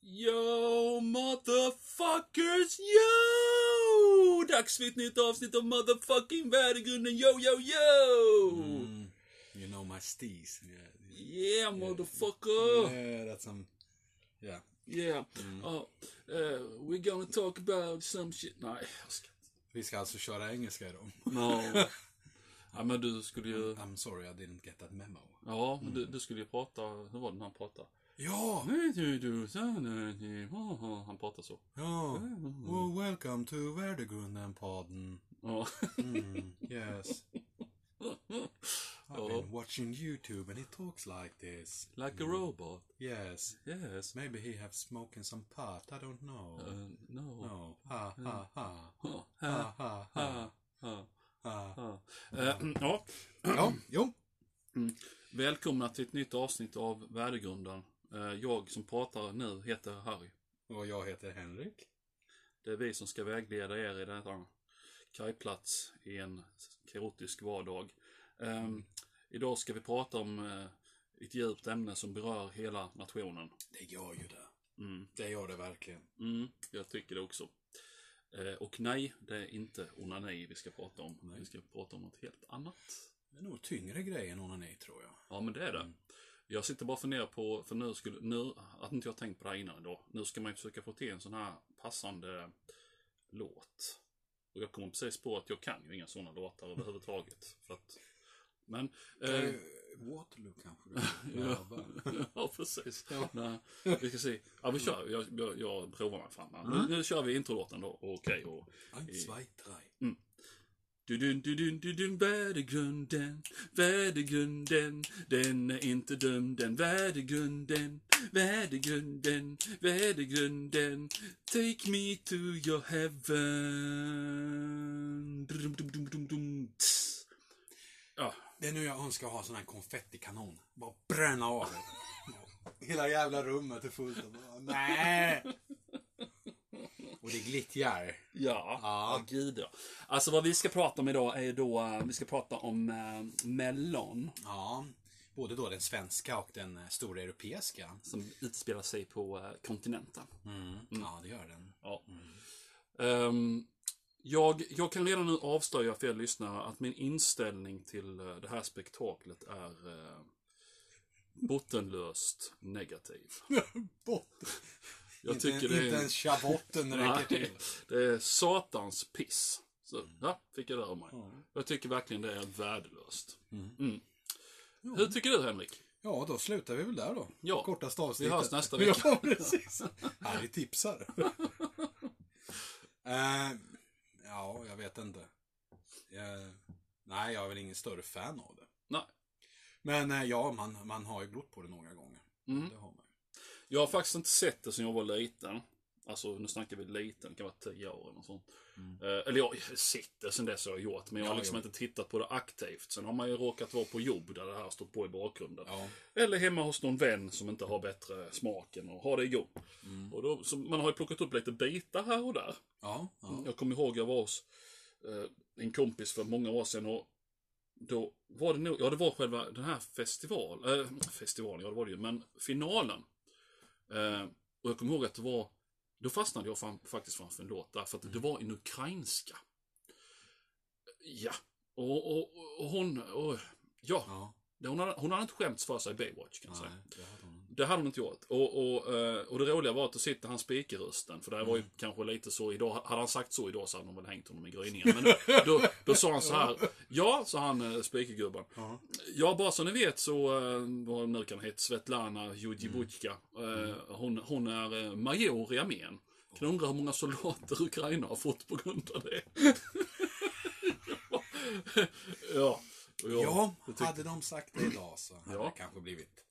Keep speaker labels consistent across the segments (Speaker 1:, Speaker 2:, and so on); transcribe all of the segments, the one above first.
Speaker 1: Yo motherfuckers, yo! Dags för ett nytt avsnitt av motherfucking värdegrunden, yo yo yo!
Speaker 2: Mm. You know my steez. Yeah,
Speaker 1: Yeah motherfucker!
Speaker 2: yeah that's some. Yeah.
Speaker 1: Yeah.
Speaker 2: Mm.
Speaker 1: Oh, uh, we're gonna talk about some shit. Nej, jag ska
Speaker 2: Vi ska alltså köra engelska idag.
Speaker 1: No. ja men du skulle ju...
Speaker 2: I'm sorry I didn't get that memo.
Speaker 1: Ja, men du, du skulle ju prata... Hur var det när han pratade?
Speaker 2: Ja!
Speaker 1: Nej, du, du, så, nej, nej, ha, ha. Han pratar så.
Speaker 2: Ja! Well, welcome to Värdegrunden-podden.
Speaker 1: Ja.
Speaker 2: Mm, yes. I've
Speaker 1: Ja.
Speaker 2: been watching YouTube and he talks like this.
Speaker 1: Like a robot.
Speaker 2: Yes.
Speaker 1: Yes.
Speaker 2: Maybe he have smoking some pot, I don't know.
Speaker 1: Uh, no.
Speaker 2: No. Ha, ha, ha.
Speaker 1: Ha,
Speaker 2: Ha,
Speaker 1: ha,
Speaker 2: ha, ha.
Speaker 1: ha, ha,
Speaker 2: ha.
Speaker 1: ha. Eh, Ja,
Speaker 2: Ja, jo.
Speaker 1: välkomna till ett nytt avsnitt av Värdegrunden. Eh, Jag som pratar nu heter Harry.
Speaker 2: Och jag heter Henrik.
Speaker 1: Det är vi som ska vägleda er i denna kajplats i en kaotisk vardag. Ehm, Idag ska vi prata om eh, ett djupt ämne som berör hela nationen.
Speaker 2: Det gör ju det.
Speaker 1: Mm,
Speaker 2: Det gör det verkligen.
Speaker 1: mm, jag tycker det också. Eh, Och nej, det är inte onani vi ska prata om.
Speaker 2: Nej.
Speaker 1: Vi ska prata om något helt annat.
Speaker 2: Det är nog tyngre grejer än onani, tror jag.
Speaker 1: Ja, men det är det. Jag sitter bara och funderar på, för nu skulle, nu, att inte jag tänkt på det här innan då. Nu ska man ju försöka få till en sån här passande låt. Och jag kommer precis på att jag kan ju inga såna låtar överhuvudtaget. För att, men... Eh,
Speaker 2: Waterloo kanske du vill
Speaker 1: ja,
Speaker 2: pröva.
Speaker 1: ja, precis.
Speaker 2: Ja.
Speaker 1: Nej, vi ska se. Ja, vi kör. Jag, jag, jag provar mig fram här. Nu, nu kör vi introlåten då. Okej, och...
Speaker 2: Eins, zwei, drei.
Speaker 1: Du-dun, du-dun, du-dun, värdegrunden, värdegrunden, den är inte dum den. Värdegrunden, värdegrunden, värdegrunden, take me to your heaven. Dum, dum, dum, dum, dum, tss. Ja,
Speaker 2: Det är nu jag önskar ha sån här konfettikanon. Bara bränna av det. Hela jävla rummet är fullt av bara, nej. Och det glittrar.
Speaker 1: Ja, ja. gud ja. Alltså vad vi ska prata om idag är ju då, eh, vi ska prata om eh, Mellon.
Speaker 2: Ja. Både då den svenska och den eh, stora europeiska.
Speaker 1: Som utspelar sig på eh, kontinenten.
Speaker 2: Ja, det gör den.
Speaker 1: Ja. Ehm, jag, jag kan redan nu avslöja för er lyssnare att min inställning till eh, det här spektaklet är eh, bottenlöst negativ.
Speaker 2: Botten.
Speaker 1: Jag
Speaker 2: inte,
Speaker 1: tycker det
Speaker 2: inte
Speaker 1: är,
Speaker 2: ens schavotten räcker till.
Speaker 1: nej, det är satans piss. Så,
Speaker 2: Mm.
Speaker 1: ja, fick jag det ur mig. Jag tycker verkligen det är värdelöst. Mm. Hur tycker du Henrik?
Speaker 2: Ja, då slutar vi väl där då.
Speaker 1: Ja.
Speaker 2: Kortaste avsnittet.
Speaker 1: Vi hörs nästa vecka.
Speaker 2: Ja, precis. Harry tipsar. Eh, ja, jag vet inte. Eh, nej, jag är väl ingen större fan av det.
Speaker 1: Nej.
Speaker 2: Men eh, ja, man, man har ju glott på det några gånger.
Speaker 1: Mm.
Speaker 2: Det har man ju.
Speaker 1: Jag har faktiskt inte sett det sen jag var liten. Alltså nu snackar vi liten, det kan vara 10 år eller något sånt. Eh, eller jag har sett det sen dess har jag gjort, men jag har
Speaker 2: Mm. Ja,
Speaker 1: liksom
Speaker 2: jo.
Speaker 1: inte tittat på det aktivt. Sen har man ju råkat vara på jobb där det här har stått på i bakgrunden.
Speaker 2: Ja.
Speaker 1: Eller hemma hos någon vän som inte har bättre smak än att ha det igång.
Speaker 2: Mm.
Speaker 1: Och då, så man har ju plockat upp lite bitar här och där.
Speaker 2: Ja, ja.
Speaker 1: Jag kommer ihåg jag var hos eh, en kompis för många år sedan och då var det nog, ja det var själva den här festival, eh, festivalen, ja det var det ju, men finalen. Eh, och jag kommer ihåg att det var, då fastnade jag fram, faktiskt framför en låt där, för att det var en ukrainska. Ja, och, och, och hon, och, ja,
Speaker 2: ja.
Speaker 1: hon hade, hon hade inte skämts för sig i Baywatch kan jag
Speaker 2: Nej,
Speaker 1: säga.
Speaker 2: det hade hon.
Speaker 1: Det hade hon inte gjort. Och, och, eh, och det roliga var att då sitter han spikrösten. För det var ju kanske lite så idag. Hade han sagt så idag så hade de väl hängt honom i gryningen. Men då, då, då sa han så här. Ja, sa han eh, spikergubben.
Speaker 2: Ja.
Speaker 1: Ja, bara så ni vet så, eh, vad nu kan hon heta, Svetlana Jujibuchka. Eh, hon, hon är eh, major i armén. Kan undra hur många soldater Ukraina har fått på grund av det. ja. ja. och jag-
Speaker 2: ja,
Speaker 1: jag tyckte-
Speaker 2: hade de sagt det idag så hade
Speaker 1: Ja.
Speaker 2: det kanske blivit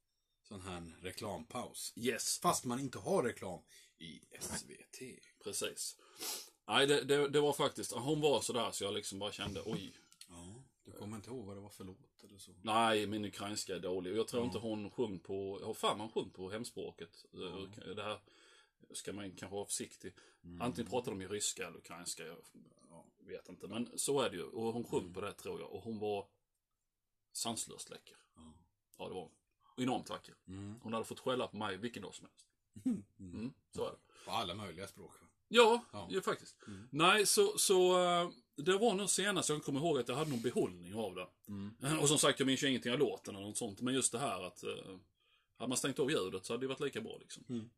Speaker 2: sån här reklampaus.
Speaker 1: Yes.
Speaker 2: Fast man inte har reklam i SVT.
Speaker 1: Precis. Nej, det, det, det var faktiskt, hon var sådär så jag liksom bara kände oj.
Speaker 2: Ja, du kommer inte ihåg vad det var för låt eller så?
Speaker 1: Nej, min ukrainska är dålig. Och jag tror inte hon sjöng på, jag har för mig hon sjöng på hemspråket. Eh, Det här ska man kanske vara försiktig. Antingen pratar de ju ryska eller ukrainska, jag ja, vet inte. Men så är det ju. Och hon sjöng på det tror jag. Och hon var sanslöst läcker.
Speaker 2: Ja.
Speaker 1: Ja, det var hon. Enormt vacker.
Speaker 2: Mm.
Speaker 1: Hon hade fått skälla på mig vilken dag som helst. Mm, så är det.
Speaker 2: På alla möjliga språk. va?
Speaker 1: Ja,
Speaker 2: Ja. Mm.
Speaker 1: ju faktiskt. Nej, så, så eh, det var nog senast jag kommer ihåg att jag hade någon behållning av det.
Speaker 2: Mm.
Speaker 1: Och som sagt, jag minns ju ingenting av låten eller något sånt. Men just det här att eh, hade man stängt av ljudet så hade det varit lika bra liksom.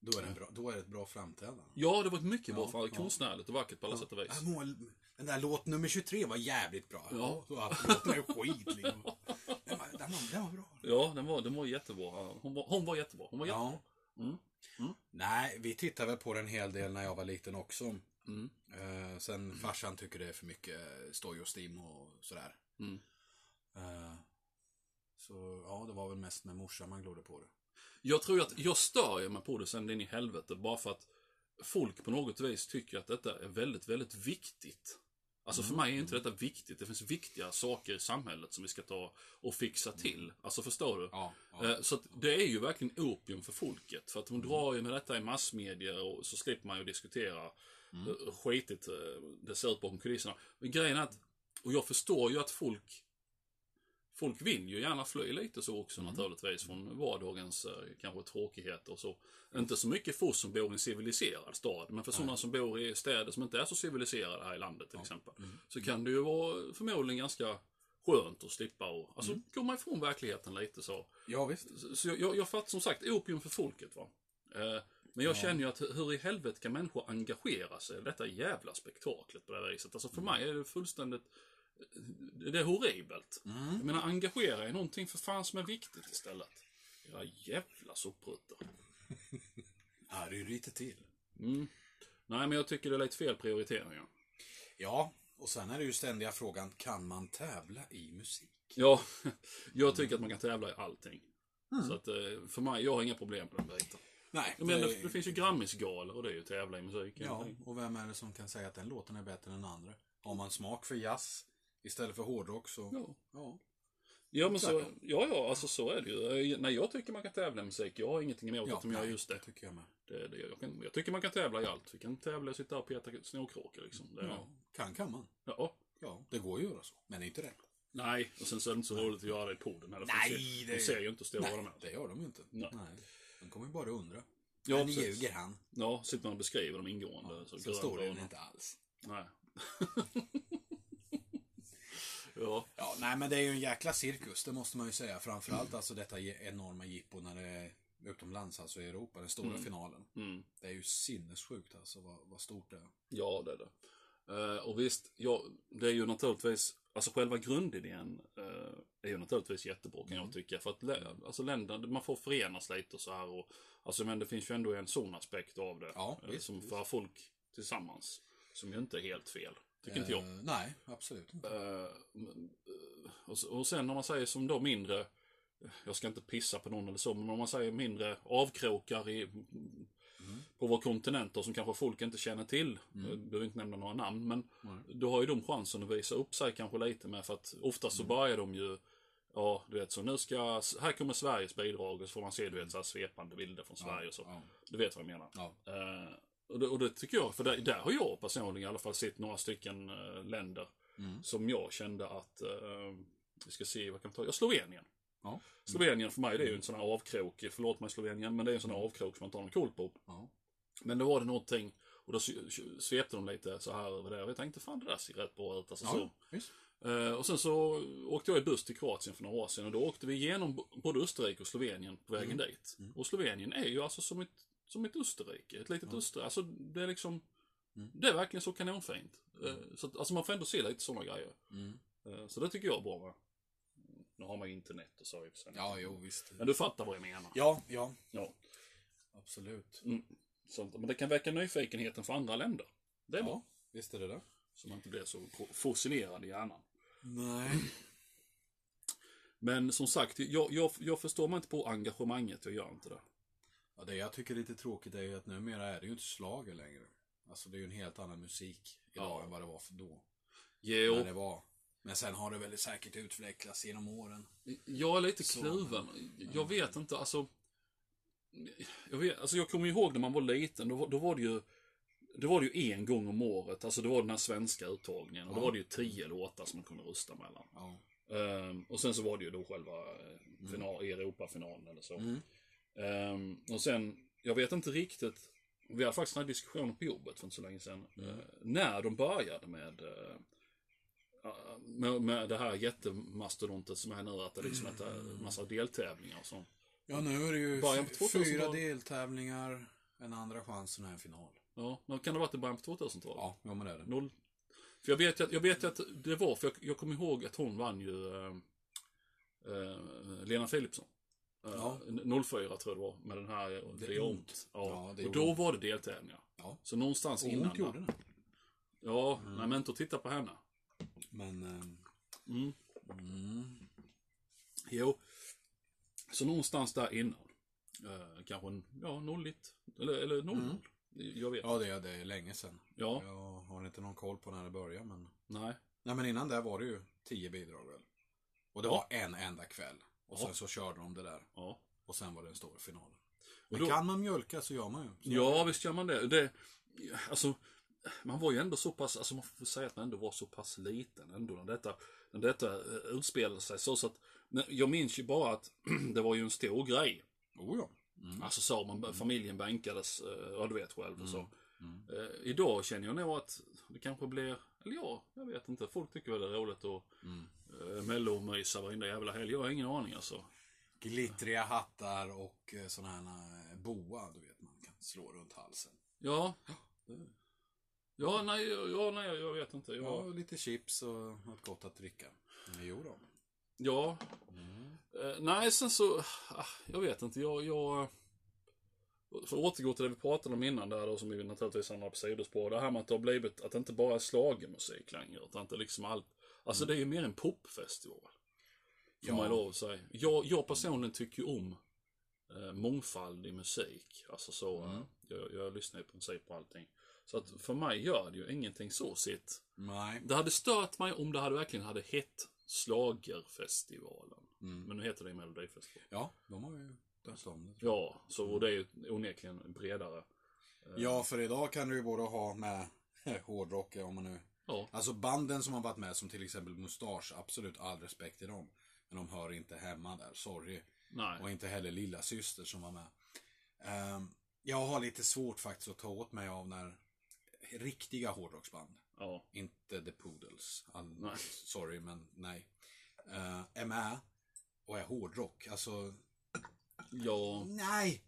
Speaker 2: Då är det, en bra, då är det ett bra framträdande.
Speaker 1: Ja, det var ett mycket bra
Speaker 2: Ja,
Speaker 1: fall.
Speaker 2: ja.
Speaker 1: Konstnärligt och vackert på alla sätt och
Speaker 2: Ja,
Speaker 1: vis.
Speaker 2: mål, den där låt nummer 23 var jävligt bra.
Speaker 1: Ja.
Speaker 2: Då att Låten är ju skit liksom. Den var, den var, den var bra.
Speaker 1: Ja, den var, den var jättebra. Hon var, hon var jättebra. Hon var jättebra.
Speaker 2: Ja.
Speaker 1: Mm. Mm.
Speaker 2: Nej, vi tittade väl på den en hel del när jag var liten också.
Speaker 1: Mm.
Speaker 2: Eh, sen farsan tycker det är för mycket stoj och stim och sådär.
Speaker 1: Mm.
Speaker 2: Eh, så ja, det var väl mest med morsan man glodde på det.
Speaker 1: Jag tror ju att jag stör ju mig på det sen in i helvete. Bara för att folk på något vis tycker att detta är väldigt, väldigt viktigt. Alltså för mig är inte detta viktigt. Det finns viktiga saker i samhället som vi ska ta och fixa till. Alltså förstår du?
Speaker 2: Ja, ja.
Speaker 1: Eh, Så att det är ju verkligen opium för folket. För att de drar ju med detta i massmedia och så slipper man ju diskutera hur skitigt eh, det ser ut bakom kulisserna. Men grejen är att, och jag förstår ju att folk Folk vill ju gärna fly lite så också naturligtvis från vardagens eh, kanske tråkigheter och så. Inte så mycket för oss som bor i en civiliserad stad, men för sådana som bor i städer som inte är så civiliserade här i landet till exempel. Så kan det ju vara förmodligen ganska skönt att slippa och alltså komma ifrån verkligheten lite så.
Speaker 2: ja, visst.
Speaker 1: Så jag, jag, jag fattar som sagt opium för folket. va. Eh, men jag känner ju att hur hur i helvete kan människor engagera sig i detta jävla spektaklet på det här viset? Alltså för
Speaker 2: Mm.
Speaker 1: mig är det fullständigt... eh, Det är horribelt.
Speaker 2: Mm.
Speaker 1: Jag menar, engagera er i någonting för fan som är viktigt istället. Era jävla soppruttor.
Speaker 2: Ja, det är ju lite till.
Speaker 1: Nej, men jag tycker det är lite fel prioriteringar.
Speaker 2: Ja, och sen är det ju ständiga frågan, kan man tävla i musik?
Speaker 1: Ja, jag tycker att
Speaker 2: Mm.
Speaker 1: man kan tävla i allting. Så att eh, för mig, jag har inga problem på den biten.
Speaker 2: Nej,
Speaker 1: Jag menar, det, det finns ju Grammisgalor och det är ju tävla i musiken.
Speaker 2: Ja, och vem är det som kan säga att den låten är bättre än den andra? Har man smak för jazz istället för hårdrock så...
Speaker 1: Ja.
Speaker 2: ja.
Speaker 1: Ja, men så, ja, ja, alltså så är det ju. Eh, Nej, jag tycker man kan tävla i musik. Jag har ingenting emot
Speaker 2: Ja,
Speaker 1: att de gör
Speaker 2: nej,
Speaker 1: just det.
Speaker 2: tycker jag med.
Speaker 1: det, det jag, kan, jag tycker man kan tävla i allt. Vi kan tävla och sitta och peta snåkråkor liksom. Det,
Speaker 2: Ja, kan kan man.
Speaker 1: ja. ja.
Speaker 2: Ja, det går ju att göra så. Men det är inte rätt.
Speaker 1: Nej, och sen så är det inte så roligt att göra det i podden heller. för
Speaker 2: Nej,
Speaker 1: de ser-
Speaker 2: det-
Speaker 1: De ser ju inte hur stora de
Speaker 2: Nej,
Speaker 1: är.
Speaker 2: det gör de ju inte.
Speaker 1: Nej.
Speaker 2: De kommer ju bara att undra.
Speaker 1: Ja,
Speaker 2: men
Speaker 1: precis.
Speaker 2: ljuger han.
Speaker 1: Ja, sitter man och beskriver dem ingående. så
Speaker 2: Så
Speaker 1: grön
Speaker 2: står
Speaker 1: bön
Speaker 2: det ju
Speaker 1: och-
Speaker 2: inte alls.
Speaker 1: Nej. ja.
Speaker 2: Ja, nej men det är ju en jäkla cirkus, det måste man ju säga. Framförallt alltså detta ge- enorma jippo när det är utomlands, alltså i Europa, den stora finalen.
Speaker 1: Mm.
Speaker 2: Det är ju sinnessjukt alltså vad, vad stort det är.
Speaker 1: Ja, det är det. Eh, och visst, ja, det är ju naturligtvis, alltså själva grundidén eh, är ju naturligtvis jättebra kan
Speaker 2: Mm.
Speaker 1: jag tycka. För att lä- alltså, länderna, man får förenas lite och så här. Och, alltså, men det finns ju ändå en sån aspekt av det.
Speaker 2: Ja,
Speaker 1: eh,
Speaker 2: visst,
Speaker 1: som
Speaker 2: visst.
Speaker 1: för folk tillsammans. Som ju inte är helt fel, tycker inte jag.
Speaker 2: Eh, nej, absolut inte.
Speaker 1: Eh, men, eh, och, s- och sen när man säger som då mindre, jag ska inte pissa på någon eller så, men om man säger mindre avkrokar i, mm, på vår kontinent då, som kanske folk inte känner till, jag behöver inte nämna några namn, men då har ju de chansen att visa upp sig kanske lite med för att oftast så börjar de ju Ja, du vet så nu ska, här kommer Sveriges bidrag och så får man se du vet så här svepande bilder från Sverige och så.
Speaker 2: ja.
Speaker 1: Du vet vad jag menar.
Speaker 2: Ja.
Speaker 1: Eh, och, det, och det tycker jag, för där, där har jag personligen i alla fall sett några stycken eh, länder
Speaker 2: Mm.
Speaker 1: som jag kände att, eh, vi ska se vad kan vi ta, ja Slovenien.
Speaker 2: Ja. Mm.
Speaker 1: Slovenien för mig det är ju en sån här avkrok, förlåt mig Slovenien, men det är en sån här avkrok som man inte har någon koll på.
Speaker 2: Ja.
Speaker 1: Men då var det någonting, och då s- svepte de lite så här över det och jag tänkte fan det där ser rätt bra ut. Alltså, så.
Speaker 2: Ja, visst.
Speaker 1: Eh, och sen så åkte jag i buss till Kroatien för några år sedan och då åkte vi igenom b- både Österrike och Slovenien på vägen dit. Och Slovenien är ju alltså som ett, som ett Österrike, ett litet Österrike. Alltså det är liksom, det är verkligen så kanonfint. Eh, så att, alltså man får ändå se lite sådana grejer. Eh, så det tycker jag är bra va. Nu har man ju internet och så i och för sig.
Speaker 2: Ja, jo visst.
Speaker 1: Men du fattar vad jag menar.
Speaker 2: Ja, ja,
Speaker 1: Ja. Mm,
Speaker 2: absolut.
Speaker 1: Så, att- men det kan väcka nyfikenheten för andra länder. Det är bra.
Speaker 2: Ja, visst är det det.
Speaker 1: Så man inte blir så ko- fossilerad i hjärnan.
Speaker 2: Nej.
Speaker 1: Men som sagt, jag, jag, jag förstår mig inte på engagemanget, jag gör inte det.
Speaker 2: Ja, det jag tycker är lite tråkigt är ju att numera är det ju inte slager längre. Alltså det är ju en helt annan musik idag
Speaker 1: Ja.
Speaker 2: än vad det var för då.
Speaker 1: Jo,
Speaker 2: När det var. Men sen har det väl säkert utvecklats genom åren.
Speaker 1: jag är lite kluven. Jag vet inte, alltså. Jag, vet, alltså jag kommer ihåg när man var liten, då, var- då var det ju det var det ju en gång om året, alltså det var den här svenska uttagningen. Och då var det ju tio låtar som man kunde rösta mellan.
Speaker 2: Ja.
Speaker 1: Ehm, och sen så Mm. var det ju då själva eh, final, Europafinalen eller så. Ehm, och sen jag vet inte riktigt. Vi hade faktiskt en diskussion på jobbet för inte så länge sedan. eh, När de började med, eh, ah, med, med det här jättemastodontet som är nu, att det liksom är en massa deltävlingar och sånt.
Speaker 2: Ja, nu är det ju
Speaker 1: Början på
Speaker 2: fy-
Speaker 1: 2000-talet.
Speaker 2: fyra deltävlingar, en andra chans och en final.
Speaker 1: Ja, men kan det ha varit i början på 2000-talet?
Speaker 2: Ja, ja men det är det.
Speaker 1: Noll. För jag vet, ju att, jag vet ju att det var, för jag, jag kommer ihåg att hon vann ju eh, eh, Lena Philipsson. Eh,
Speaker 2: Ja.
Speaker 1: 04 tror jag det var, med den här eh, Det, är ont. Ja.
Speaker 2: Ja, det är
Speaker 1: och då
Speaker 2: ont.
Speaker 1: var det deltävlingar.
Speaker 2: Ja.
Speaker 1: Så någonstans
Speaker 2: Och
Speaker 1: innan.
Speaker 2: ont gjorde
Speaker 1: där.
Speaker 2: det.
Speaker 1: Ja,
Speaker 2: Mm.
Speaker 1: nej men inte att titta på henne.
Speaker 2: Men... ehm,
Speaker 1: Mm.
Speaker 2: Mm.
Speaker 1: Jo. Så någonstans där innan. Eh, kanske en, ja, nolligt. Eller, eller noll.
Speaker 2: Mm.
Speaker 1: Jag vet.
Speaker 2: Ja, det är, det är länge sedan.
Speaker 1: Ja,
Speaker 2: Jag har inte någon koll på när det började, men...
Speaker 1: nej.
Speaker 2: Nej, men innan det var det ju tio bidrag väl? Och det
Speaker 1: Ja.
Speaker 2: var en enda kväll. Och
Speaker 1: Ja.
Speaker 2: sen så körde de det där.
Speaker 1: Ja.
Speaker 2: Och sen var det en stor final.
Speaker 1: Och
Speaker 2: Men
Speaker 1: då-
Speaker 2: kan man mjölka så gör man ju. Så
Speaker 1: Ja, visst gör man det. det alltså, man var ju ändå så pass, alltså man får säga att man ändå var så pass liten ändå när detta, när detta eh, utspelade sig. Så, så att, men jag minns ju bara att det var ju en stor grej.
Speaker 2: Oh, ja.
Speaker 1: Alltså så, man, familjen bänkades, eh, ja du vet själv och så. Eh, idag känner jag nog att det kanske blir, eller ja, jag vet inte. Folk tycker väl det är roligt att
Speaker 2: Mm.
Speaker 1: eh, mellomysa varenda jävla helg. Jag har ingen aning alltså.
Speaker 2: Glittriga hattar och sådana här eh, boa, du vet, man kan slå runt halsen.
Speaker 1: Ja. Ja, nej, ja, nej, jag vet inte. Jag,
Speaker 2: Ja, och lite chips och något gott att dricka. Men jo då.
Speaker 1: Ja.
Speaker 2: Mm.
Speaker 1: Eh, nej, sen så... ah, Jag vet inte. Jag... jag eh, för att återgå till det vi pratade om innan där då, som vi naturligtvis hamnar på sidospår. Det här med att det har blivit, att det inte bara är schlagermusik längre, utan att det liksom allt... Alltså det är ju mer en popfestival. Får
Speaker 2: Ja.
Speaker 1: man lov att säga. Jag, jag personligen tycker ju om eh, mångfald i musik. Alltså så, eh, jag, jag lyssnar i princip på allting. Så att för mig gör det ju ingenting så sitt.
Speaker 2: Nej.
Speaker 1: Det hade stört mig om det hade verkligen hade hett Slagerfestivalen. Men nu heter det ju Melodifestivalen.
Speaker 2: mm. Ja, de har ju döpt om det.
Speaker 1: Ja, så det är ju onekligen bredare.
Speaker 2: Mm.
Speaker 1: Eh,
Speaker 2: Ja, för idag kan du ju både ha med hårdrock, om man nu...
Speaker 1: Ja.
Speaker 2: Alltså banden som har varit med, som till exempel Mustasch, absolut all respekt till dem. Men de hör inte hemma där, sorry.
Speaker 1: Nej.
Speaker 2: Och inte heller lilla syster som var med. Ehm, jag har lite svårt faktiskt att ta åt mig av när riktiga hårdrocksband,
Speaker 1: Ja.
Speaker 2: inte The Poodles, all,
Speaker 1: Nej.
Speaker 2: sorry men nej, eh, är med och är hårdrock. Alltså,
Speaker 1: Ja.
Speaker 2: nej!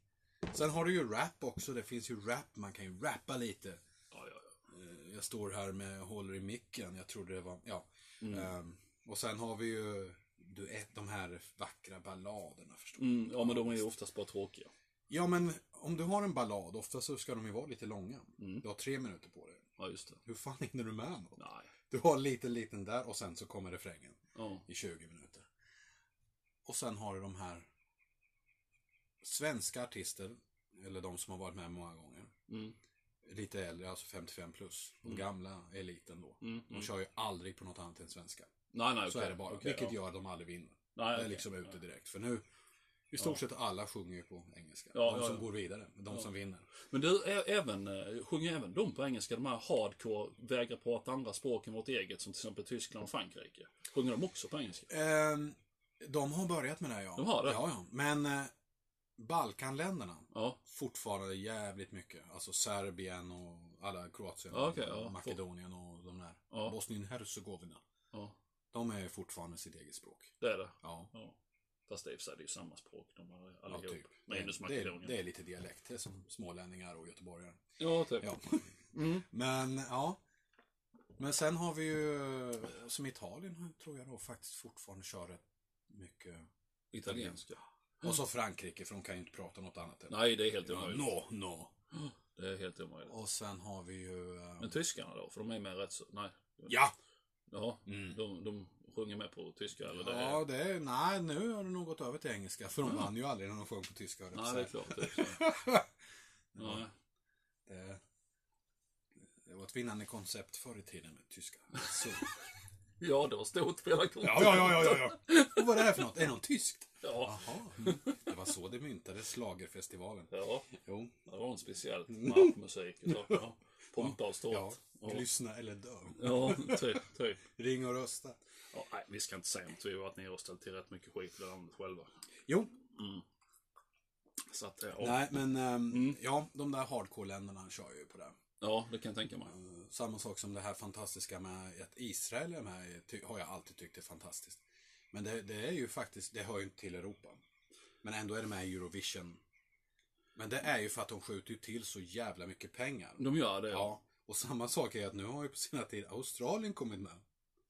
Speaker 2: Sen har du ju rap också, det finns ju rap, man kan ju rappa lite.
Speaker 1: Ja, ja,
Speaker 2: Eh, Jag står här med håller i micken. Jag trodde det var, ja.
Speaker 1: Mm.
Speaker 2: Ehm, och sen har vi ju duett, de här vackra balladerna förstås.
Speaker 1: mm, ja, men de är ju oftast bara tråkiga.
Speaker 2: Ja, men om du har en ballad, ofta så ska de ju vara lite långa. Du har tre minuter på dig.
Speaker 1: Ja, just det.
Speaker 2: Hur fan hinner du med något?
Speaker 1: Nej.
Speaker 2: Du har lite, liten där och sen så kommer refrängen
Speaker 1: Ja.
Speaker 2: i 20 minuter. Och sen har du de här svenska artister, eller de som har varit med många gånger.
Speaker 1: Mm.
Speaker 2: Lite äldre, alltså 55 plus. De gamla eliten då.
Speaker 1: Mm,
Speaker 2: De kör ju aldrig på något annat än svenska.
Speaker 1: Nej, nej,
Speaker 2: Så
Speaker 1: okej,
Speaker 2: är det bara.
Speaker 1: okej,
Speaker 2: vilket
Speaker 1: ja.
Speaker 2: gör att de aldrig vinner.
Speaker 1: Nej,
Speaker 2: det är
Speaker 1: okej,
Speaker 2: liksom
Speaker 1: ja.
Speaker 2: ute direkt. För nu, i stort sett alla sjunger ju på engelska.
Speaker 1: Ja,
Speaker 2: de
Speaker 1: ja,
Speaker 2: som
Speaker 1: ja.
Speaker 2: går vidare, de som vinner.
Speaker 1: Men du, ä- även, eh, sjunger även de på engelska, de här hardcore, vägrar prata andra språk än vårt eget, som till exempel Tyskland och Frankrike? Sjunger de också på engelska?
Speaker 2: Ehm, de har börjat med det, ja.
Speaker 1: De har det?
Speaker 2: Ja, ja. Men eh, Balkanländerna,
Speaker 1: Ja.
Speaker 2: fortfarande jävligt mycket. Alltså Serbien och alla Kroatien,
Speaker 1: Ja, okej,
Speaker 2: och
Speaker 1: ja.
Speaker 2: Makedonien och de där.
Speaker 1: Ja.
Speaker 2: Bosnien-Hercegovina.
Speaker 1: Ja,
Speaker 2: De är fortfarande sitt eget språk.
Speaker 1: det är det.
Speaker 2: Ja,
Speaker 1: Ja. Fast det är i och för sig det är ju samma språk de har
Speaker 2: ja
Speaker 1: allihop.
Speaker 2: typ.
Speaker 1: Minus
Speaker 2: det, är,
Speaker 1: Makedonien.
Speaker 2: det är lite dialekt, det är som smålänningar och göteborgare.
Speaker 1: Ja, typ.
Speaker 2: Ja.
Speaker 1: Mm.
Speaker 2: Men ja. Men sen har vi ju, som Italien tror jag då faktiskt fortfarande kör rätt mycket.
Speaker 1: Italienska.
Speaker 2: Och så Frankrike, för de kan ju inte prata något annat. än-
Speaker 1: Nej, det är helt
Speaker 2: Ja,
Speaker 1: omöjligt.
Speaker 2: no, no.
Speaker 1: Det är helt omöjligt.
Speaker 2: Och sen har vi ju... eh,
Speaker 1: Men typ- tyskarna då? För de är med rätt så... Nej.
Speaker 2: Ja! Mm.
Speaker 1: Jaha. De, de sjunger med på tyska eller det är...
Speaker 2: Ja, det är... Nej, nu har det nog gått över till engelska. För de vann ju aldrig när de sjöng på tyska. höll jag på
Speaker 1: Nej,
Speaker 2: att
Speaker 1: det är
Speaker 2: säga.
Speaker 1: klart. Det är klart. Nej.
Speaker 2: det, det var ett vinnande koncept förr i tiden med tyska. Så.
Speaker 1: Ja, det var stort spelarkort.
Speaker 2: Ja, ja, ja, ja, ja. Och vad är det här för något? Är det något tyskt?
Speaker 1: ja.
Speaker 2: Jaha. Mm. Det var så det myntades, schlagerfestivalen.
Speaker 1: Ja,
Speaker 2: Jo.
Speaker 1: det var en speciell marschmusik. och så. Ja. Pompa och
Speaker 2: Ja.
Speaker 1: ståt. Mm. Ja,
Speaker 2: Lyssna eller dö.
Speaker 1: ja typ. typ.
Speaker 2: Ring och rösta.
Speaker 1: Ja, nej, vi ska inte säga att vi har varit nere och ställt till rätt mycket skit bland annat själva.
Speaker 2: Jo.
Speaker 1: Så att, eh, ja. Mm.
Speaker 2: Nej, men ehm, ja, de där hardcore-länderna kör ju på det.
Speaker 1: ja, det kan jag tänka mig.
Speaker 2: Eh, Samma sak som det här fantastiska med att Israel är med, ty- har jag alltid tyckt är fantastiskt. Men det, det är ju faktiskt, det hör ju inte till Europa. Men ändå är det med i Eurovision. Men det är ju för att de skjuter ju till så jävla mycket pengar.
Speaker 1: De gör det. Ja,
Speaker 2: Ja, och samma sak är att nu har ju på sina tid Australien kommit med.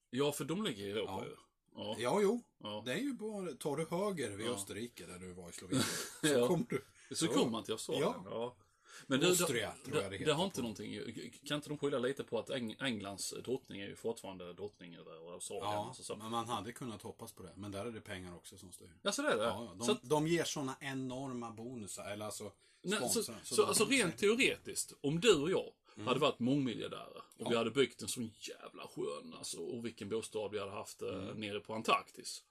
Speaker 1: ja för de ligger i Europa
Speaker 2: Ja.
Speaker 1: ju. Ja.
Speaker 2: Ja, jo.
Speaker 1: Ja.
Speaker 2: Det är ju bara, tar du höger vid
Speaker 1: Ja.
Speaker 2: Österrike där du var i Slovenien, så
Speaker 1: Ja.
Speaker 2: kommer du.
Speaker 1: Så
Speaker 2: Ja.
Speaker 1: kommer man till Australien.
Speaker 2: Ja.
Speaker 1: Ja. Men det,
Speaker 2: Austria,
Speaker 1: det,
Speaker 2: tror jag det
Speaker 1: det,
Speaker 2: heter
Speaker 1: det har
Speaker 2: på-
Speaker 1: inte någonting, kan inte de skylla lite på att Eng, Englands drottning är ju fortfarande drottning över Australien?
Speaker 2: Ja,
Speaker 1: Alltså, så.
Speaker 2: men man hade kunnat hoppas på det. Men där är det pengar också som styr.
Speaker 1: Ja, så det är det.
Speaker 2: Ja, de,
Speaker 1: så, att,
Speaker 2: de ger sådana enorma bonusar, eller alltså
Speaker 1: nej, så, så,
Speaker 2: sponsrar.
Speaker 1: så
Speaker 2: de-
Speaker 1: alltså rent teoretiskt, om du och jag
Speaker 2: Mm.
Speaker 1: hade varit mångmiljardärer och vi hade byggt en sån jävla skön, alltså, och vilken bostad vi hade haft eh,
Speaker 2: Mm.
Speaker 1: nere på Antarktis.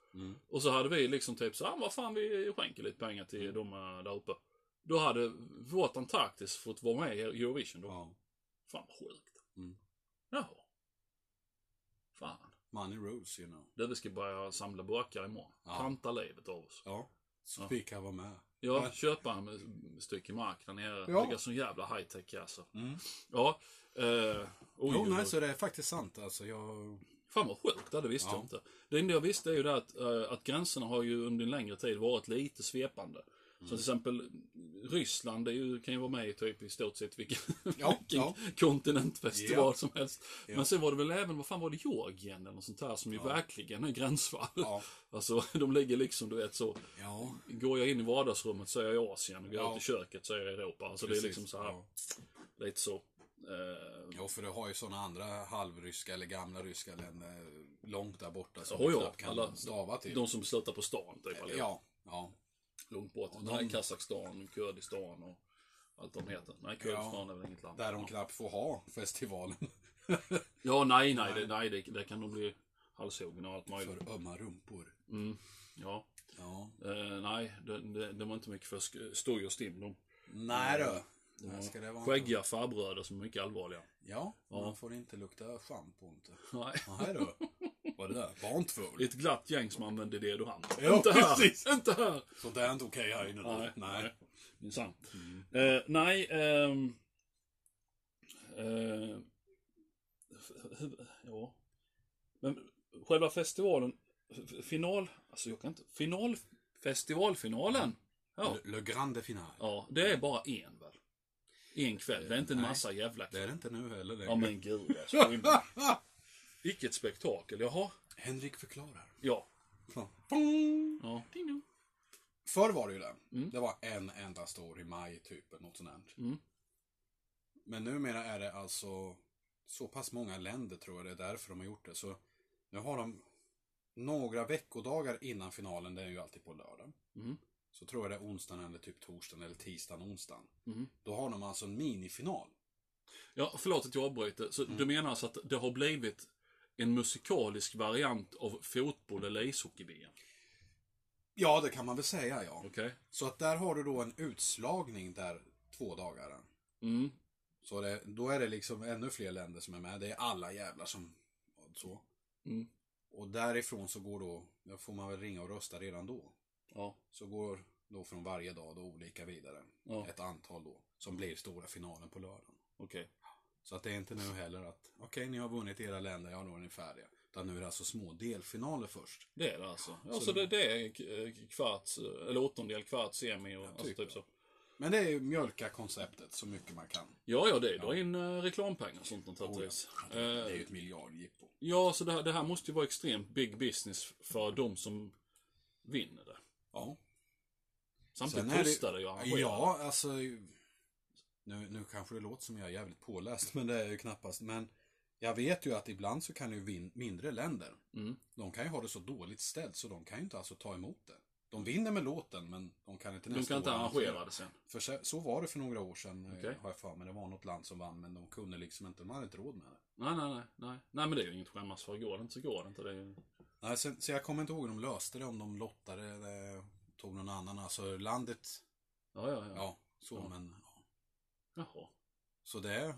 Speaker 1: Och så hade vi liksom typ så ah, vad fan vi skänker lite pengar till
Speaker 2: Mm.
Speaker 1: de eh, där uppe. Då hade vårt Antarktis fått vara med i Eurovision då.
Speaker 2: Ja,
Speaker 1: Fan vad sjukt.
Speaker 2: Mm.
Speaker 1: Jaha. Fan.
Speaker 2: money rules, you know.
Speaker 1: Du, vi ska börja samla burkar imorgon.
Speaker 2: Ja.
Speaker 1: Panta livet av oss.
Speaker 2: Ja, så vi kan vara med.
Speaker 1: Ja,
Speaker 2: Men-
Speaker 1: köpa en stycke mark där nere.
Speaker 2: Ja.
Speaker 1: Ja. Ligga sån jävla high tech alltså.
Speaker 2: Mm.
Speaker 1: Ja. Eh, oj,
Speaker 2: Jo,
Speaker 1: oj,
Speaker 2: nej,
Speaker 1: oj.
Speaker 2: så det är faktiskt sant. Alltså, jag...
Speaker 1: Fan vad sjukt, det visste
Speaker 2: Ja.
Speaker 1: jag inte. Det enda jag visste är ju det att, eh, att gränserna har ju under en längre tid varit lite svepande. Så
Speaker 2: Mm.
Speaker 1: till exempel Ryssland är ju, kan ju vara med i typ i stort sett vilken,
Speaker 2: Ja,
Speaker 1: vilken
Speaker 2: ja.
Speaker 1: kontinentfestival
Speaker 2: Ja.
Speaker 1: som helst. Men sen var det väl även, vad fan var det, Georgien eller något sånt där som ju verkligen är gränsfall.
Speaker 2: Ja.
Speaker 1: Alltså de ligger liksom, du vet så.
Speaker 2: Ja,
Speaker 1: Går jag in i vardagsrummet så är jag i Asien och går
Speaker 2: Ja.
Speaker 1: ut i köket så är jag i Europa. Alltså
Speaker 2: precis.
Speaker 1: det är liksom så här,
Speaker 2: Ja.
Speaker 1: lite så. Eh,
Speaker 2: Ja, för du har ju sådana andra halvryska eller gamla ryska länder eh, långt där borta som
Speaker 1: Ojo,
Speaker 2: du knappt kan
Speaker 1: alla-
Speaker 2: stava till.
Speaker 1: de som slutar på stan typ. allihopa.
Speaker 2: Ja, ja.
Speaker 1: långt bort. Nej, Kazakstan, Kurdistan och allt de heter. Nej, Kurdistan är väl inget land.
Speaker 2: Där de knappt får ha festivalen.
Speaker 1: Ja, nej, nej, det, nej det, det kan nog bli halshuggen och allt möjligt.
Speaker 2: för ömma rumpor.
Speaker 1: Ja,
Speaker 2: Ja.
Speaker 1: eh, nej, det, det, det var inte mycket för sk- stoj och stim. De
Speaker 2: Nej då. Här ska det vara.
Speaker 1: skäggiga farbröder som är mycket allvarliga.
Speaker 2: Ja, man får inte lukta schampo inte.
Speaker 1: Nej.
Speaker 2: Nej då. Vad är det där? Var inte full.
Speaker 1: Ett glatt gäng som använder det du hann.
Speaker 2: Ja,
Speaker 1: inte här!
Speaker 2: precis.
Speaker 1: Inte här!
Speaker 2: Sånt är inte okej här inne. då.
Speaker 1: Nej.
Speaker 2: Nej. Mm.
Speaker 1: Minsann. Eh, nej, ehm... eh, ja. Men själva festivalen, f- final, alltså jag kan inte, final, festivalfinalen. Ja,
Speaker 2: Le- Le Grande Final.
Speaker 1: ja det är bara en väl? En kväll, det är inte en massa jävla
Speaker 2: Det
Speaker 1: kvällar.
Speaker 2: är det inte nu heller
Speaker 1: Ja
Speaker 2: längre.
Speaker 1: men gud alltså.
Speaker 2: Ah!
Speaker 1: Vilket spektakel, jaha.
Speaker 2: Henrik förklarar.
Speaker 1: Ja.
Speaker 2: Pong!
Speaker 1: Ja.
Speaker 2: Förr var det ju det. Det var en enda stor i maj, typ, eller något sånt där.
Speaker 1: Mm.
Speaker 2: Men numera är det alltså så pass många länder, tror jag, det är därför de har gjort det. Så nu har de några veckodagar innan finalen, det är ju alltid på lördag.
Speaker 1: Mm.
Speaker 2: Så tror jag det är onsdagen eller typ torsdagen eller tisdagen, onsdagen.
Speaker 1: Mm.
Speaker 2: Då har de alltså en minifinal.
Speaker 1: Ja, förlåt att jag avbryter. Så
Speaker 2: Mm.
Speaker 1: du menar alltså att det har blivit en musikalisk variant av fotboll eller ishockey-VM?
Speaker 2: Ja, det kan man väl säga, ja.
Speaker 1: Okej?
Speaker 2: Så att där har du då en utslagning där två dagar.
Speaker 1: Mm.
Speaker 2: Så det, då är det liksom ännu fler länder som är med. Det är alla jävlar som... Så.
Speaker 1: Mm.
Speaker 2: Och därifrån så går då, då får man väl ringa och rösta redan då.
Speaker 1: Ja.
Speaker 2: Så går då från varje dag då olika vidare.
Speaker 1: Ja.
Speaker 2: Ett antal då. Som blir stora finalen på lördagen.
Speaker 1: Okej.
Speaker 2: Så att det är inte nu heller att, okej ni har vunnit era länder, ja då är ni färdiga. Utan nu är det alltså små delfinaler först.
Speaker 1: Det är det alltså. Ja, så, det, det är k- eh, kvarts, eh, eller åttondel, kvarts, semi och alltså,
Speaker 2: typ,
Speaker 1: typ så.
Speaker 2: Men det är ju mjölka konceptet så mycket man kan.
Speaker 1: Ja, ja, det drar in eh, reklampengar och sånt naturligtvis. Eh,
Speaker 2: Oh, Det är ju ett miljardjippo.
Speaker 1: Ja, så det här, det här måste ju vara extremt big business för de som vinner det.
Speaker 2: Ja. Sen
Speaker 1: Samtidigt
Speaker 2: är
Speaker 1: kostar det ju att arrangera.
Speaker 2: Ja, alltså... Nu, nu kanske det låter som jag är jävligt påläst, men det är jag ju knappast. Men jag vet ju att ibland så kan ju vin, mindre länder,
Speaker 1: Mm.
Speaker 2: de kan ju ha det så dåligt ställt så de kan ju inte alltså ta emot det. De vinner med låten, men de kan inte
Speaker 1: De
Speaker 2: nästa
Speaker 1: kan inte
Speaker 2: år
Speaker 1: arrangera det sen.
Speaker 2: För så, så var det för några år sedan, eh,
Speaker 1: Okej.
Speaker 2: har jag för mig. Det var något land som vann, men de kunde liksom inte, de hade inte råd med det.
Speaker 1: Nej, nej, nej. Nej, nej men det är ju inget att skämmas för. Går det inte så går det inte. Det är ju...
Speaker 2: Nej, så, så jag kommer inte ihåg hur de löste det, om de lottade eller tog någon annan. Alltså landet,
Speaker 1: Ja, ja, ja.
Speaker 2: ja, så, men ja.
Speaker 1: Jaha.
Speaker 2: Så det är...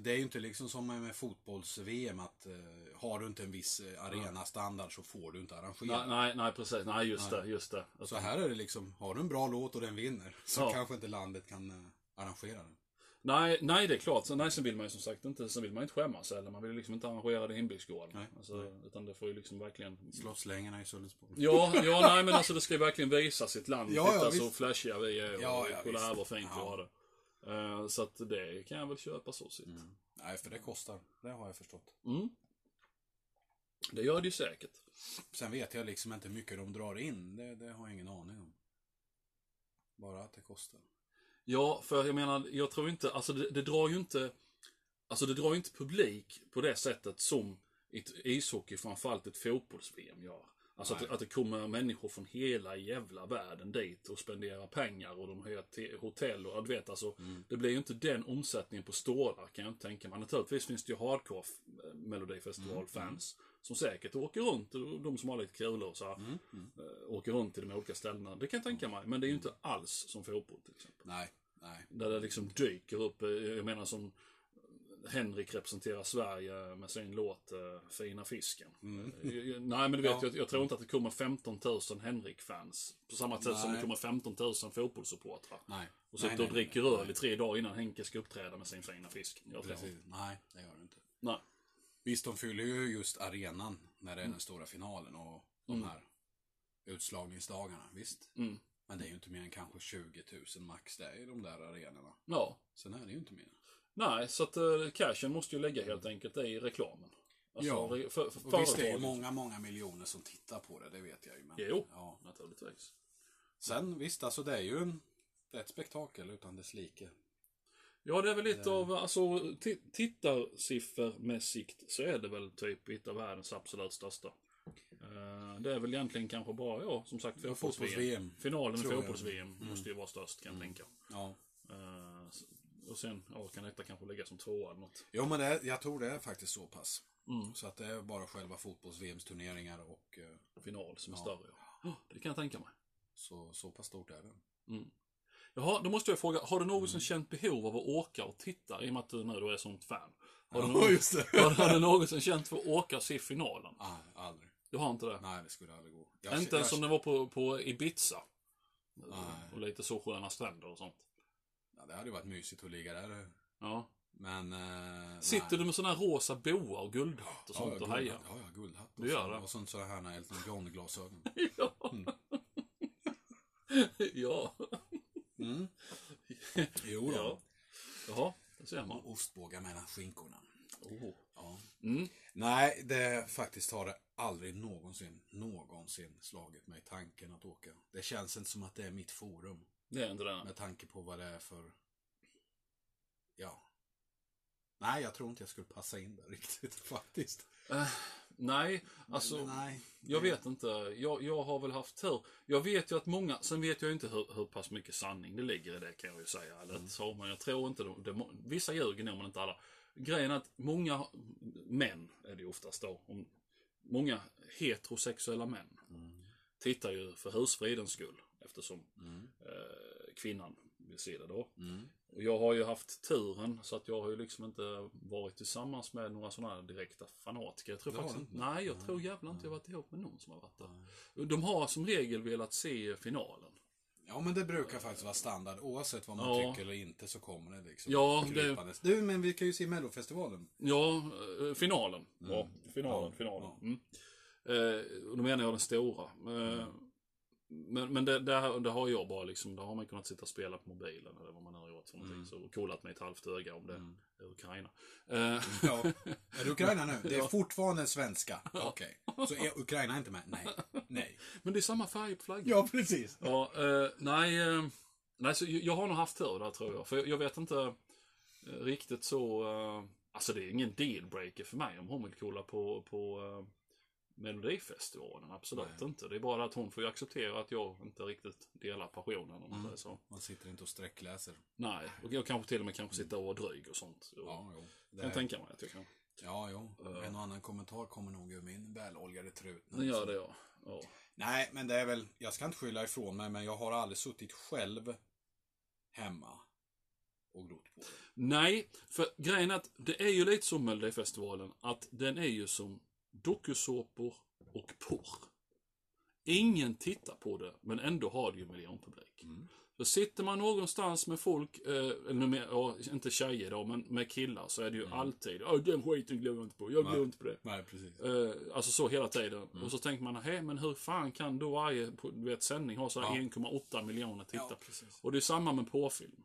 Speaker 2: Det är ju inte liksom som med fotbolls-VM att eh, har du inte en viss eh, arenastandard så får du inte
Speaker 1: Nej,
Speaker 2: arrangera.
Speaker 1: nej, nej precis. Nej, just det. Just det. Att-
Speaker 2: Så här är det liksom, har du en bra låt och den vinner så
Speaker 1: Ja.
Speaker 2: kanske inte landet kan eh, arrangera den.
Speaker 1: Nej, nej, det är klart. Så, nej, sen vill man ju som sagt inte, sen vill man ju inte skämmas heller. Man vill ju liksom inte arrangera det i hembygdsgården.
Speaker 2: Nej,
Speaker 1: Alltså, Utan det får ju liksom verkligen...
Speaker 2: Slottslängarna i Sölvesborg.
Speaker 1: Ja, ja, nej men alltså det ska ju verkligen visa sitt land.
Speaker 2: Ja, ja,
Speaker 1: Titta så
Speaker 2: visst.
Speaker 1: flashiga vi är och
Speaker 2: Ja, ja,
Speaker 1: kolla här
Speaker 2: visst.
Speaker 1: vad fint vi
Speaker 2: Ja.
Speaker 1: har det. Eh, så att det kan jag väl köpa så sitt.
Speaker 2: Mm.
Speaker 1: Mm.
Speaker 2: Nej, för det kostar. Det har jag förstått.
Speaker 1: Det gör det ju säkert.
Speaker 2: Sen vet jag liksom inte hur mycket de drar in. Det, det har jag ingen aning om. Bara att det kostar.
Speaker 1: Ja, för jag menar, jag tror inte, alltså det, det drar ju inte, alltså det drar ju inte publik på det sättet som ett ishockey, framförallt ett fotbolls-VM gör. Alltså att,
Speaker 2: Nej.
Speaker 1: att det kommer människor från hela jävla världen dit och spenderar pengar och de hyr te- hotell och du vet alltså. Det blir ju inte den omsättningen på stålar kan jag inte tänka mig. Naturligtvis finns det ju hardcore f- eh, melodifestivalfans som säkert åker runt, och de som har lite kul och så här, eh, åker runt till de olika ställena. Det kan jag tänka mig, men det är ju inte alls som fotboll till exempel.
Speaker 2: Nej, nej.
Speaker 1: Där det liksom dyker upp, eh, jag menar som Henrik representerar Sverige med sin låt eh, Fina fisken. Eh, Nej men du vet,
Speaker 2: Mm. Ja.
Speaker 1: jag, jag tror inte att det kommer 15 000 Henrik-fans. På samma sätt som det
Speaker 2: Nej.
Speaker 1: kommer 15 000 fotbollssupportrar.
Speaker 2: Nej.
Speaker 1: Och sitter
Speaker 2: Nej, nej,
Speaker 1: och dricker
Speaker 2: nej,
Speaker 1: öl i tre dagar innan Henke ska uppträda med sin fina fisk. Jag tror
Speaker 2: Precis.
Speaker 1: inte.
Speaker 2: Nej, det gör det inte.
Speaker 1: Nej.
Speaker 2: Visst, de fyller ju just arenan när det
Speaker 1: Mm.
Speaker 2: är den stora finalen och de här utslagningsdagarna. Visst.
Speaker 1: Mm.
Speaker 2: Men det är ju inte mer än kanske 20 000 max det är i de där arenorna.
Speaker 1: Ja.
Speaker 2: Sen är det ju inte mer.
Speaker 1: Nej, så att eh, cashen måste ju lägga helt enkelt i reklamen. Alltså,
Speaker 2: Ja.
Speaker 1: re- för, för
Speaker 2: Och visst, det är ju
Speaker 1: företaget.
Speaker 2: många, många miljoner som tittar på det, det vet jag ju. Men,
Speaker 1: Jo.
Speaker 2: Ja.
Speaker 1: Naturligtvis.
Speaker 2: Sen visst, alltså det är ju en, det är ett spektakel utan dess like.
Speaker 1: Ja, det är väl lite
Speaker 2: Eh.
Speaker 1: av, alltså ti- tittarsiffrmässigt så är det väl typ ett av världens absolut största. Eh, Det är väl egentligen kanske bara, ja, som sagt,
Speaker 2: Ja,
Speaker 1: fotbolls-VM.
Speaker 2: fotbolls-VM,
Speaker 1: Finalen i
Speaker 2: tror jag. Mm.
Speaker 1: fotbolls-VM måste ju vara störst, kan jag tänka.
Speaker 2: Ja.
Speaker 1: Eh, s- Och sen, ja, kan detta kanske läggas som tvåa eller något.
Speaker 2: Jo, men det, är- jag tror det är faktiskt så pass.
Speaker 1: Mm.
Speaker 2: Så att det är bara själva fotbolls-VMs turneringar och eh,
Speaker 1: Final som är större. Ja, Oh, det kan jag tänka mig.
Speaker 2: så, så pass stort är det.
Speaker 1: Jaha, då måste jag fråga, har du
Speaker 2: Mm.
Speaker 1: någonsin känt behov av att åka och titta? I och med att du nu då är sånt fan. Har du, någon,
Speaker 2: just det.
Speaker 1: har, har du någonsin känt för att åka och se finalen?
Speaker 2: Nej, aldrig.
Speaker 1: Du har inte det?
Speaker 2: Nej, det skulle aldrig gå.
Speaker 1: Jag,
Speaker 2: Jag-
Speaker 1: inte ens
Speaker 2: jag-
Speaker 1: om den var på, på Ibiza.
Speaker 2: Nej.
Speaker 1: Och lite så sköna stränder och sånt.
Speaker 2: Ja, det hade ju varit mysigt att ligga där.
Speaker 1: Ja.
Speaker 2: Men... Eh,
Speaker 1: Sitter
Speaker 2: nej.
Speaker 1: du med sådana här rosa boa och guldhatt och sånt
Speaker 2: ja,
Speaker 1: och
Speaker 2: guldhatt.
Speaker 1: hejar?
Speaker 2: Ja, ja, guldhatt.
Speaker 1: Du gör
Speaker 2: och
Speaker 1: det.
Speaker 2: så, Och sånt sådana här när Elton John-glasögon.
Speaker 1: Ja. ja.
Speaker 2: Mm. Jo då.
Speaker 1: ja. Jaha, det ser man.
Speaker 2: Och ostbågar mellan skinkorna.
Speaker 1: Oh.
Speaker 2: Ja.
Speaker 1: Mm.
Speaker 2: Nej, det faktiskt har det aldrig någonsin, någonsin slagit mig tanken att åka. Det känns inte som att det är mitt forum.
Speaker 1: Det är inte det.
Speaker 2: Med tanke på vad det är för... Ja. Nej, jag tror inte jag skulle passa in där riktigt faktiskt.
Speaker 1: Eh, nej, alltså.
Speaker 2: Men nej.
Speaker 1: Jag vet inte. Jag, jag har väl haft tur. Jag vet ju att många, sen vet jag ju inte hur, hur pass mycket sanning det ligger i det kan jag ju säga. Eller så, men jag tror inte de, de, Vissa ljuger nog men inte alla. Grejen är att många män, är det ju oftast då, om, många heterosexuella män tittar ju för husfridens skull eftersom eh, kvinnan vill se det då. Och jag har ju haft turen så att jag har ju liksom inte varit tillsammans med några sådana här direkta fanatiker. Jag tror
Speaker 2: Det har
Speaker 1: faktiskt
Speaker 2: du
Speaker 1: inte, nej, jag tror jävlar inte jag varit ihop med någon som har varit där. De har som regel velat se finalen.
Speaker 2: Ja, men det brukar faktiskt vara standard. Oavsett vad man
Speaker 1: Ja,
Speaker 2: tycker eller inte så kommer det liksom.
Speaker 1: Ja, det-
Speaker 2: krypandes. Du, men vi kan ju se Mellofestivalen.
Speaker 1: Ja, eh, finalen. Ja, finalen,
Speaker 2: Mm. Ja,
Speaker 1: finalen.
Speaker 2: ja.
Speaker 1: Mm. Eh, och då menar jag den stora. Eh, Men, men det, det, här, det har jag bara liksom, där har man kunnat sitta och spela på mobilen eller vad man nu har gjort för någonting.
Speaker 2: Mm.
Speaker 1: Så och kolat med ett halvt öga om det är Ukraina. Eh,
Speaker 2: Ja. Är det Ukraina nu? Det är
Speaker 1: Ja.
Speaker 2: fortfarande svenska. Okej. Så är Ukraina inte med? Nej. Nej.
Speaker 1: men det är samma färg på flaggan.
Speaker 2: Ja, precis.
Speaker 1: Ja, eh, nej, eh, nej så jag jag har nog haft tur där tror jag. För jag, jag vet inte eh, riktigt så... Eh, alltså det är ingen dealbreaker för mig om hon vill kolla på, på eh, Melodifestivalen. Absolut inte. Det är bara att hon får ju acceptera att jag inte riktigt delar passionen om man säger så.
Speaker 2: Man sitter inte och sträckläser.
Speaker 1: Nej, och jag kanske till och med kanske sitter och vara dryg och sånt. Och
Speaker 2: Ja, jo. Det
Speaker 1: kan
Speaker 2: är...
Speaker 1: tänka mig att jag kan.
Speaker 2: Ja, jo. En och annan kommentar kommer nog ur min väloljade trut.
Speaker 1: Det gör det ja. ja.
Speaker 2: Nej, men det är väl, jag ska inte skylla ifrån mig, men jag har aldrig suttit själv hemma och grott på det.
Speaker 1: Nej, för grejen är att det är ju lite som Melodifestivalen, att den är ju som dokusåpor och porr. Ingen tittar på det, men ändå har det ju miljonpublik. Så sitter man någonstans med folk, eh, eller med, ja, inte tjejer då, men med killar, så är det ju alltid "Ja, den skiten glömmer jag inte på, jag glömmer inte på det.
Speaker 2: Nej, precis.
Speaker 1: Eh, alltså så hela tiden. Och så tänker man, hej men hur fan kan då varje du vet, sändning ha så här 1,8 miljoner tittare?
Speaker 2: precis.
Speaker 1: och det är samma med porrfilm.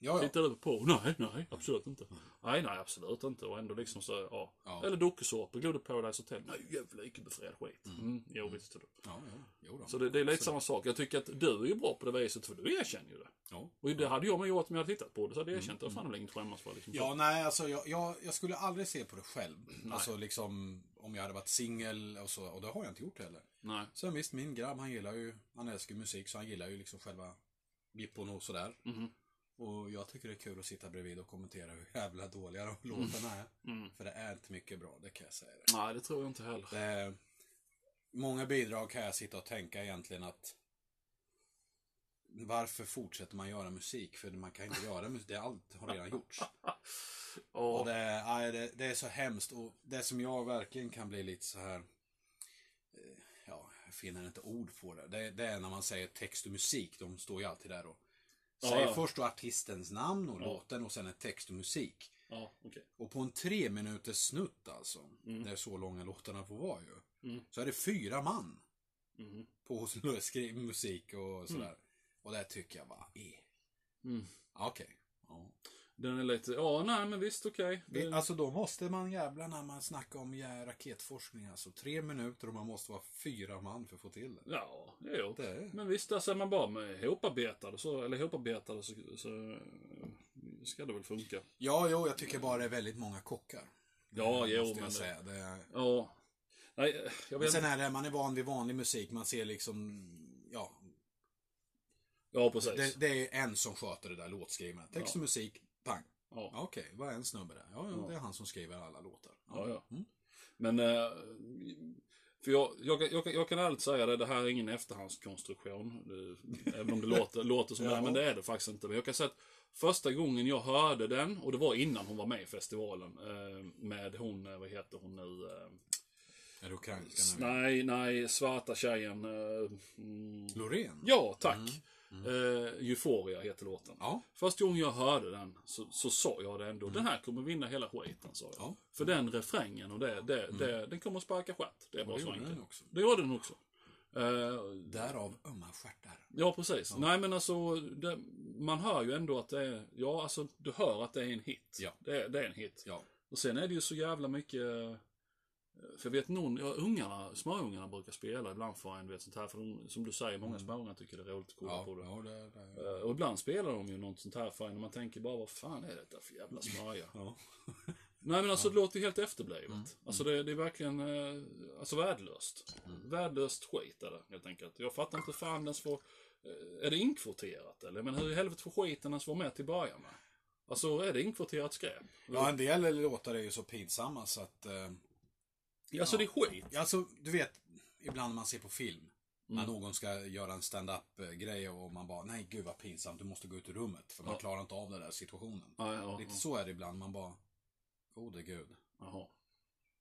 Speaker 2: Ja, ja.
Speaker 1: Tittar du på? Nej, nej, absolut inte. Nej, nej, absolut inte. Och ändå liksom så, ja.
Speaker 2: Ja.
Speaker 1: Eller dokusåpor, Glömde Paradise Hotel. Nej, jävla icke-befriad skit. Mm, jo, visst är det.
Speaker 2: ja, ja. Jo då.
Speaker 1: Så det, det är lite samma sak. Jag tycker att du är ju bra på det viset, för du erkänner ju det.
Speaker 2: Ja. Mm.
Speaker 1: Och det hade jag med gjort om jag hade tittat på det, så hade jag erkänt det. Fan, det är väl inget att skämmas för liksom.
Speaker 2: Ja, nej, alltså jag, jag, jag skulle aldrig se på det själv. Alltså liksom om jag hade varit singel och så, och det har jag inte gjort heller.
Speaker 1: Nej.
Speaker 2: Sen visst, min grabb han gillar ju, han älskar ju musik så han gillar ju liksom själva jippon och sådär. Och jag tycker det är kul att sitta bredvid och kommentera hur jävla dåliga de låtarna är. För det är inte mycket bra, det kan jag säga.
Speaker 1: Nej, det tror jag inte heller.
Speaker 2: Det är, Eh, många bidrag kan jag sitta och tänka egentligen att varför fortsätter man göra musik? För man kan inte göra musik, det är allt har redan gjorts. Och
Speaker 1: Ja,
Speaker 2: det, är- nej, det, det är så hemskt och det som jag verkligen kan bli lite så här eh, Ja, jag finner inte ord på det. det. Det är när man säger text och musik, de står ju alltid där och säger
Speaker 1: ja.
Speaker 2: först då artistens namn och låten och sen är text och musik.
Speaker 1: ja okej.
Speaker 2: Och på en tre minuters snutt alltså,
Speaker 1: Mm.
Speaker 2: där så långa låtarna får vara ju, så är det fyra man
Speaker 1: Mhm.
Speaker 2: på att skriva musik och sådär. Och det tycker jag bara, eh.
Speaker 1: Mm.
Speaker 2: Ja, Okej. Ja.
Speaker 1: Den är lite, ja, nej, men visst, okej.
Speaker 2: Det-
Speaker 1: Det-
Speaker 2: Alltså då måste man jävla när man snackar om ja, raketforskning alltså. Tre minuter och man måste vara fyra man för att få till det.
Speaker 1: Ja, jo.
Speaker 2: Det är-
Speaker 1: Men visst, alltså är man bara med ihoparbetad och så, eller ihoparbetade så, så eh, ska det väl funka.
Speaker 2: Ja, jo, jag tycker bara det är väldigt många kockar.
Speaker 1: Ja,
Speaker 2: Det
Speaker 1: jo,
Speaker 2: måste
Speaker 1: men-
Speaker 2: jag säga. Det är...
Speaker 1: Ja. Nej, eh, jag
Speaker 2: Men
Speaker 1: vet
Speaker 2: sen är det, man är van vid vanlig musik, man ser liksom, ja.
Speaker 1: Ja, precis.
Speaker 2: Det, det är en som sköter det där låtskrivandet. Text och musik, pang.
Speaker 1: Ja.
Speaker 2: Ja, Okej, vad är en snubbe där? Ja, ja, det är han som skriver alla låtar.
Speaker 1: Ja, ja.
Speaker 2: Mm.
Speaker 1: Men, eh, för jag, jag, kan- jag, kan- jag kan ärligt säga det, det här är ingen efterhandskonstruktion. eh, Även om det låter, låter som det, är, men det är det faktiskt inte. Men jag kan säga att första gången jag hörde den, och det var innan hon var med i festivalen, eh, med hon, eh, vad heter hon nu? eh,
Speaker 2: Är det ukrainska nu?
Speaker 1: Nej, nej, svarta tjejen. eh, mm,
Speaker 2: Loreen?
Speaker 1: Ja, tack.
Speaker 2: Mm,
Speaker 1: Eh, Euphoria heter låten.
Speaker 2: Ja.
Speaker 1: Första gången jag hörde den så, så sa jag det ändå. Den här kommer vinna hela skiten, sa jag.
Speaker 2: Mm. Ja. Mm.
Speaker 1: För den refrängen och det, det, det, den kommer sparka stjärt. Det är bara
Speaker 2: det
Speaker 1: så
Speaker 2: gjorde
Speaker 1: enkelt.
Speaker 2: den också.
Speaker 1: Det gjorde den också. Eh,
Speaker 2: Därav ömma stjärtar.
Speaker 1: ja, precis. Nej, men alltså, det, man hör ju ändå att det är, ja, alltså, du hör att det är en hit.
Speaker 2: Ja.
Speaker 1: Det, är- det är en hit.
Speaker 2: Ja.
Speaker 1: Och sen är det ju så jävla mycket... eh, För jag vet någon, ja, ungarna, småungarna brukar spela ibland för en, vet sånt här. För de, som du säger, många småungar tycker det är roligt att kolla
Speaker 2: Mm. Ja,
Speaker 1: på det.
Speaker 2: ja, det, det.
Speaker 1: Eh, Och ibland spelar de ju något sånt här för en och man tänker bara, vad fan är detta för jävla smörja?
Speaker 2: Ja.
Speaker 1: Nej men alltså det låter ju helt efterblivet.
Speaker 2: Mm.
Speaker 1: Alltså det, det är verkligen, eh, alltså värdelöst.
Speaker 2: Mm.
Speaker 1: Värdelöst skit är det helt enkelt. Jag fattar inte fan ens får, eh, är det inkvoterat eller? Men hur i helvete får skiten ens vara med till början med? Alltså är det inkvoterat skräp?
Speaker 2: Ja, en del låtar är ju så pinsamma så att... Eh,
Speaker 1: Alltså det är skit.
Speaker 2: ja, alltså, du vet, ibland när man ser på film, när
Speaker 1: Mm.
Speaker 2: någon ska göra en stand-up-grej och man bara, nej gud vad pinsamt, du måste gå ut ur rummet för man klarar inte av den där situationen.
Speaker 1: Ja, ja,
Speaker 2: Lite så är det ibland, man bara, gode gud.
Speaker 1: Liksom. Jaha.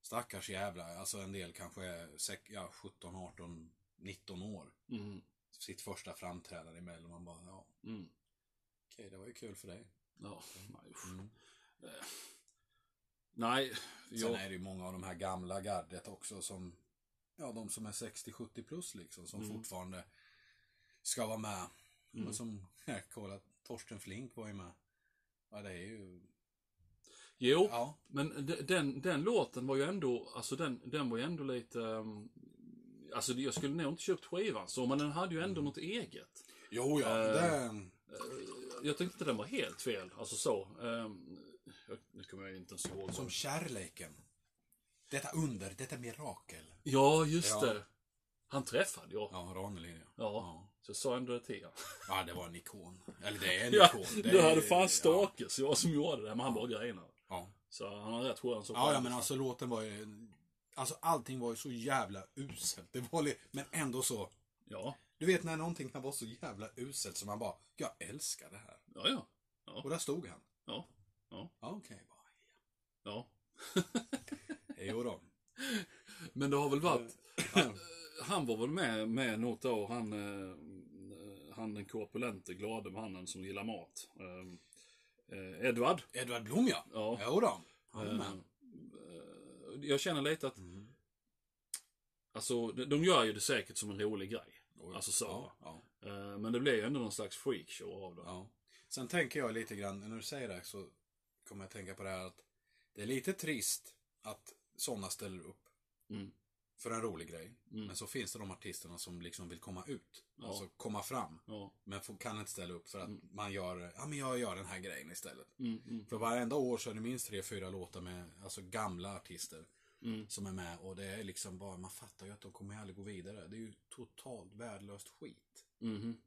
Speaker 2: Stackars jävlar, alltså en del kanske är sek- ja, 17, 18, 19 år.
Speaker 1: Mm.
Speaker 2: Sitt första framträdande emellan och man bara, ja,
Speaker 1: Mm.
Speaker 2: okej det var ju kul för dig.
Speaker 1: Ja, nej usch. Eh, Nej,
Speaker 2: Sen
Speaker 1: jag...
Speaker 2: är det ju många av de här gamla gardet också som, ja de som är 60-70 plus liksom, som fortfarande ska vara med. Men som, jag kollade, Torsten Flink var ju med. Ja, det är ju,
Speaker 1: Jo,
Speaker 2: ja,
Speaker 1: Men de- den, den låten var ju ändå, alltså den, den var ju ändå lite... ehm, Alltså jag skulle nog inte köpt skivan så, men den hade ju ändå något eget.
Speaker 2: jo ja, det,
Speaker 1: Jag tyckte inte den var helt fel, alltså så. Ehm, jag- Nu kommer jag inte ens ihåg.
Speaker 2: som
Speaker 1: Som...
Speaker 2: kärleken. Detta under, detta mirakel.
Speaker 1: Ja, just
Speaker 2: Ja.
Speaker 1: det. Han träffade jag. Ja.
Speaker 2: Ja, Ranelid ja.
Speaker 1: Så jag sa ändå det till honom.
Speaker 2: Ja, det var en ikon. Eller det är en
Speaker 1: Ja,
Speaker 2: ikon. Det
Speaker 1: du
Speaker 2: är-
Speaker 1: hade fan stakes, jag som gjorde det, men han bara grejade.
Speaker 2: Ja.
Speaker 1: Så han har rätt skön som
Speaker 2: Ja, ja,
Speaker 1: fan.
Speaker 2: men alltså låten var ju, alltså allting var ju så jävla uselt. Det var, li- men ändå så,
Speaker 1: Ja,
Speaker 2: Du vet när någonting kan vara så jävla uselt som man bara, jag älskar det här.
Speaker 1: ja, ja. Ja.
Speaker 2: Och där stod han.
Speaker 1: Ja.
Speaker 2: Ja, Okej, bara.
Speaker 1: Ja.
Speaker 2: Hej då.
Speaker 1: Men det har väl varit...
Speaker 2: Ja.
Speaker 1: Han var väl med, med något år, han, eh, han den korpulente, glade mannen som gillar mat. Eh, eh, Edward.
Speaker 2: Edvard Blom ja.
Speaker 1: Ja.
Speaker 2: Jo då. Han är
Speaker 1: Eh,
Speaker 2: med.
Speaker 1: eh, Jag känner lite att,
Speaker 2: Mm.
Speaker 1: alltså de- de gör ju det säkert som en rolig grej.
Speaker 2: Oj.
Speaker 1: Alltså så.
Speaker 2: Ja, ja,
Speaker 1: Eh, Men det blev ju ändå någon slags freakshow av det.
Speaker 2: ja. Sen tänker jag lite grann, när du säger det här så kommer jag tänka på det här att det är lite trist att sådana ställer upp
Speaker 1: Mm.
Speaker 2: för en rolig grej.
Speaker 1: Mm.
Speaker 2: Men så finns det de artisterna som liksom vill komma ut.
Speaker 1: Ja.
Speaker 2: Alltså komma fram.
Speaker 1: Ja.
Speaker 2: Men får- kan inte ställa upp för att
Speaker 1: Mm.
Speaker 2: man gör, ja men jag gör den här grejen istället.
Speaker 1: Mm, mm,
Speaker 2: För varenda år så är det minst tre, fyra låtar med alltså gamla artister
Speaker 1: mm.
Speaker 2: som är med och det är liksom bara, man fattar ju att de kommer aldrig gå vidare. Det är ju totalt värdelöst skit.
Speaker 1: Mhm.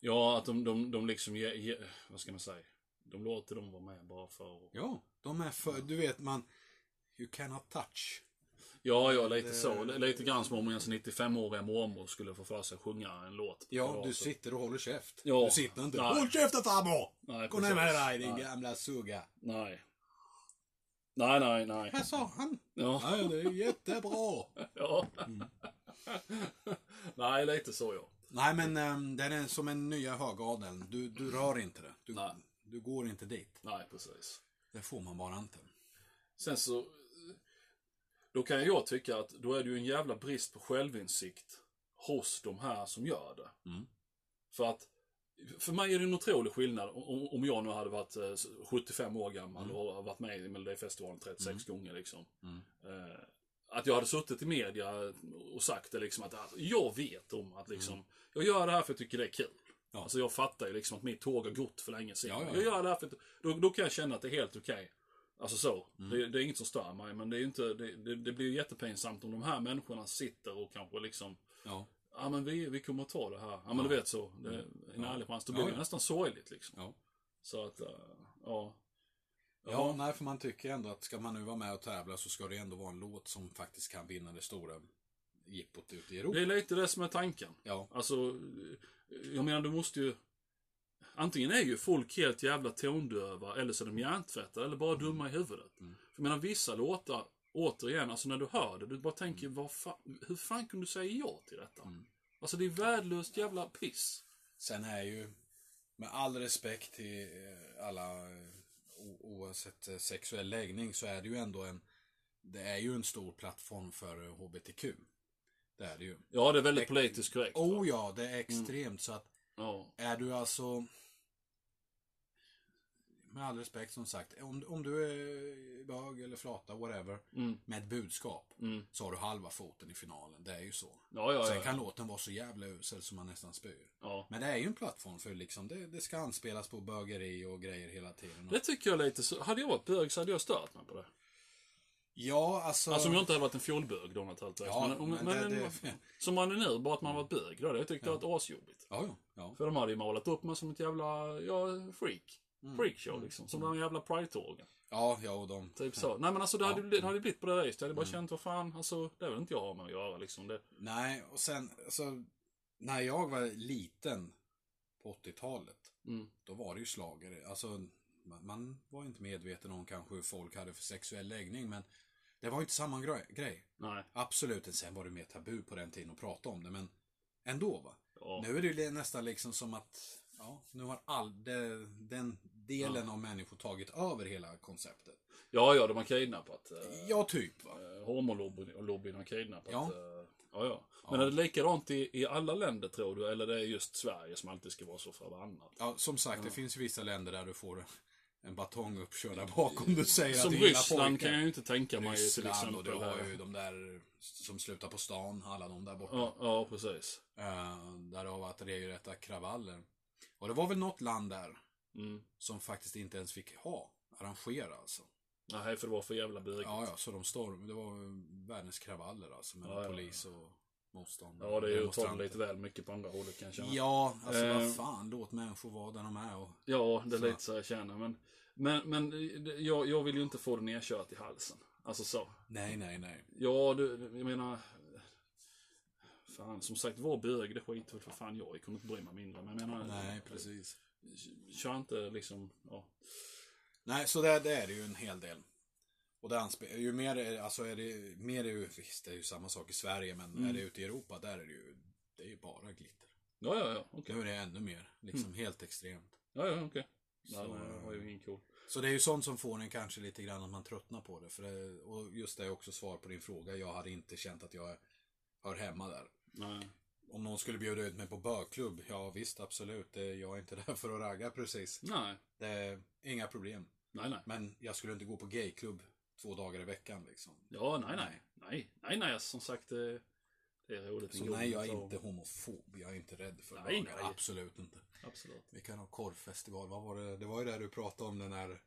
Speaker 1: Ja, att de, de, de liksom ge, ge, vad ska man säga? De låter dem vara med bara för att...
Speaker 2: Ja, de är för, du vet man, you cannot touch.
Speaker 1: Ja, ja, lite så. L- Lite grann som om ens 95-åriga mormor skulle få för sig att sjunga en låt. på
Speaker 2: Ja,
Speaker 1: kalaset.
Speaker 2: du sitter och håller käft.
Speaker 1: Ja.
Speaker 2: Du sitter inte,
Speaker 1: Nej.
Speaker 2: håll käften farbror!
Speaker 1: Nej,
Speaker 2: Gå ner med
Speaker 1: precis.
Speaker 2: dig din
Speaker 1: Nej.
Speaker 2: gamla sugga.
Speaker 1: Nej. Nej, nej, nej.
Speaker 2: Här sa han.
Speaker 1: Ja.
Speaker 2: Nej, det är jättebra.
Speaker 1: ja. nej, lite så ja.
Speaker 2: Nej men ehm, den är som en nya högadeln. Du, du rör inte det. Du,
Speaker 1: Nej.
Speaker 2: du går inte dit.
Speaker 1: Nej, precis.
Speaker 2: Det får man bara inte.
Speaker 1: Sen så... eh, Då kan jag tycka att då är det ju en jävla brist på självinsikt hos de här som gör det.
Speaker 2: Mm.
Speaker 1: För att för mig är det en otrolig skillnad om, om jag nu hade varit eh, 75 år gammal och har varit med i Melodifestivalen 36 gånger liksom.
Speaker 2: Mm.
Speaker 1: Eh, att jag hade suttit i media och sagt det liksom att ah, jag vet om att liksom jag gör det här för jag tycker det är kul.
Speaker 2: Mm. Ja.
Speaker 1: Alltså jag fattar ju liksom att mitt tåg har gått för länge sedan.
Speaker 2: Ja, ja, ja.
Speaker 1: Jag gör det här för att, då, då kan jag känna att det är helt okej. Alltså så.
Speaker 2: Mm.
Speaker 1: Det, det är inget som stör mig men det, är ju inte, det, det, det blir ju jättepinsamt om de här människorna sitter och kanske liksom
Speaker 2: Ja.
Speaker 1: Ja men vi, vi kommer att ta det här. Ja men du vet så. Det är en ärlig chans. Då blir
Speaker 2: Ja,
Speaker 1: det
Speaker 2: ja.
Speaker 1: nästan sorgligt liksom.
Speaker 2: Ja.
Speaker 1: Så att, eh, ja.
Speaker 2: Ja, nej för man tycker ändå att ska man nu vara med och tävla så ska det ändå vara en låt som faktiskt kan vinna det stora jippot ute i Europa.
Speaker 1: Det är lite det som är tanken.
Speaker 2: Ja.
Speaker 1: Alltså, eh, jag menar du måste ju... Antingen är ju folk helt jävla tondöva eller så är de hjärntvättade eller bara dumma i huvudet. För jag menar vissa låtar, återigen, alltså när du hör det, du bara tänker vad fan, hur fan kunde du säga ja till detta? Alltså det är värdelöst jävla piss.
Speaker 2: Sen är ju, med all respekt till eh, alla, eh, o- oavsett eh, sexuell läggning, så är det ju ändå en, det är ju en stor plattform för eh, HBTQ. Det är det ju.
Speaker 1: Ja, det är väldigt politiskt korrekt. va?
Speaker 2: Oh ja, det är
Speaker 1: Mm.
Speaker 2: extremt så att
Speaker 1: Ja.
Speaker 2: Är du alltså... Med all respekt som sagt, om, om du är bög eller flata, whatever,
Speaker 1: Mm.
Speaker 2: med ett budskap
Speaker 1: Mm.
Speaker 2: så har du halva foten i finalen. Det är ju så.
Speaker 1: Ja, ja,
Speaker 2: Sen
Speaker 1: ja.
Speaker 2: kan låten vara så jävla usel som man nästan spyr.
Speaker 1: ja.
Speaker 2: Men det är ju en plattform för liksom, det, det ska anspelas på bögeri och grejer hela tiden.
Speaker 1: Det tycker jag är lite så. Hade jag varit bög så hade jag stört mig på det.
Speaker 2: Ja, alltså...
Speaker 1: Alltså om jag inte hade varit en fjolbög då naturligtvis.
Speaker 2: Ja,
Speaker 1: men, om,
Speaker 2: men
Speaker 1: men,
Speaker 2: det-
Speaker 1: en-
Speaker 2: det-
Speaker 1: Som man är nu, bara att man varit bög. Då hade jag tyckt det varit asjobbigt.
Speaker 2: Ja, ja. ja.
Speaker 1: För de hade ju målat upp mig som ett jävla, ja, freak. Freakshow liksom. Som de jävla pride-tågen.
Speaker 2: Mm. Ja, ja och de...
Speaker 1: Typ så. Nej men alltså det hade, ju bli- det hade blivit på det viset. Jag hade bara
Speaker 2: Mm.
Speaker 1: känt, vad fan, alltså det vill inte jag ha med att göra liksom. Det,
Speaker 2: Nej, och sen, alltså, när jag var liten på 80-talet,
Speaker 1: Mm.
Speaker 2: då var det ju slager. Alltså, man, man var inte medveten om kanske hur folk hade för sexuell läggning, men det var ju inte samma grej. grej.
Speaker 1: nej.
Speaker 2: Absolut, sen var det mer tabu på den tiden att prata om det, men ändå va.
Speaker 1: Ja.
Speaker 2: Nu är det ju li- nästan liksom som att, ja, nu har all, det, den delen av människor tagit över hela konceptet.
Speaker 1: Ja, ja, de har kidnappat. eh,
Speaker 2: Ja, typ va.
Speaker 1: Eh, Homolobbyn och lobbyn har kidnappat.
Speaker 2: Ja.
Speaker 1: eh, Ja, ja. Men är det likadant i, i alla länder tror du? Eller det är just Sverige som alltid ska vara så förbannat?
Speaker 2: Ja, som sagt, det finns ju vissa länder där du får en batong uppkörd där bakom. Du säger
Speaker 1: Som
Speaker 2: att det är
Speaker 1: Ryssland
Speaker 2: pojkar.
Speaker 1: kan jag ju inte tänka mig till
Speaker 2: Ryssland och
Speaker 1: exempel.
Speaker 2: du har ju
Speaker 1: här.
Speaker 2: de där som slutar på stan, alla de där borta.
Speaker 1: Ja, ja, precis.
Speaker 2: Eh, där det har varit regelrätta kravaller. Och det var väl något land där
Speaker 1: Mm.
Speaker 2: som faktiskt inte ens fick ha, arrangera alltså.
Speaker 1: Nej, för det var för jävla bög. Ja,
Speaker 2: Ja, ja, så de storm, det var världens kravaller alltså mellan
Speaker 1: Ja, ja,
Speaker 2: polis och motståndare.
Speaker 1: det är ju att ta det
Speaker 2: demonstranter.
Speaker 1: lite väl mycket på andra hållet kan jag känna. Ja,
Speaker 2: Ja, alltså
Speaker 1: Eh.
Speaker 2: vad fan, låt människor vara där de är och...
Speaker 1: det är lite så jag känner. Men, men, men eh, det- jag, jag vill ju inte få det nerkört i halsen. Alltså så.
Speaker 2: Nej, nej, nej.
Speaker 1: Ja, du, jag menar... Fan, som sagt, var bög, det skiter väl för fan jag i. Kommer inte bry mig mindre. Men jag menar,
Speaker 2: Nej, precis.
Speaker 1: kör inte liksom, ja.
Speaker 2: Nej, så det, det är det ju en hel del. Och det anspe- ju mer, är- alltså är det, mer är ju, visst det är ju samma sak i Sverige, men
Speaker 1: Mm.
Speaker 2: är det ute i Europa, där är det ju, det är ju bara glitter.
Speaker 1: Ja, ja, ja, okej.
Speaker 2: Nu är det ännu mer, liksom helt extremt.
Speaker 1: Ja, Mm. ja, okej. Nej,
Speaker 2: Så-
Speaker 1: det var ju ingen cool.
Speaker 2: Så det är ju sånt som får en kanske lite grann att man tröttnar på det. För det och just det är också svar på din fråga, jag hade inte känt att jag hör hemma där.
Speaker 1: Nej.
Speaker 2: Om någon skulle bjuda ut mig på bögklubb, ja visst absolut, det, jag är inte där för att ragga precis.
Speaker 1: Nej,
Speaker 2: Det är inga problem.
Speaker 1: nej, nej.
Speaker 2: Men jag skulle inte gå på gayklubb två dagar i veckan liksom.
Speaker 1: Ja, nej, nej. Nej, nej, nej, som sagt. eh, Det är roligt.
Speaker 2: Så
Speaker 1: med
Speaker 2: nej, jag
Speaker 1: guld
Speaker 2: är
Speaker 1: och-
Speaker 2: inte homofob. Jag är inte rädd för
Speaker 1: Nej,
Speaker 2: bögar.
Speaker 1: nej.
Speaker 2: Absolut inte.
Speaker 1: Absolut.
Speaker 2: Vi kan ha korvfestival. Vad var det? Det var ju det du pratade om den här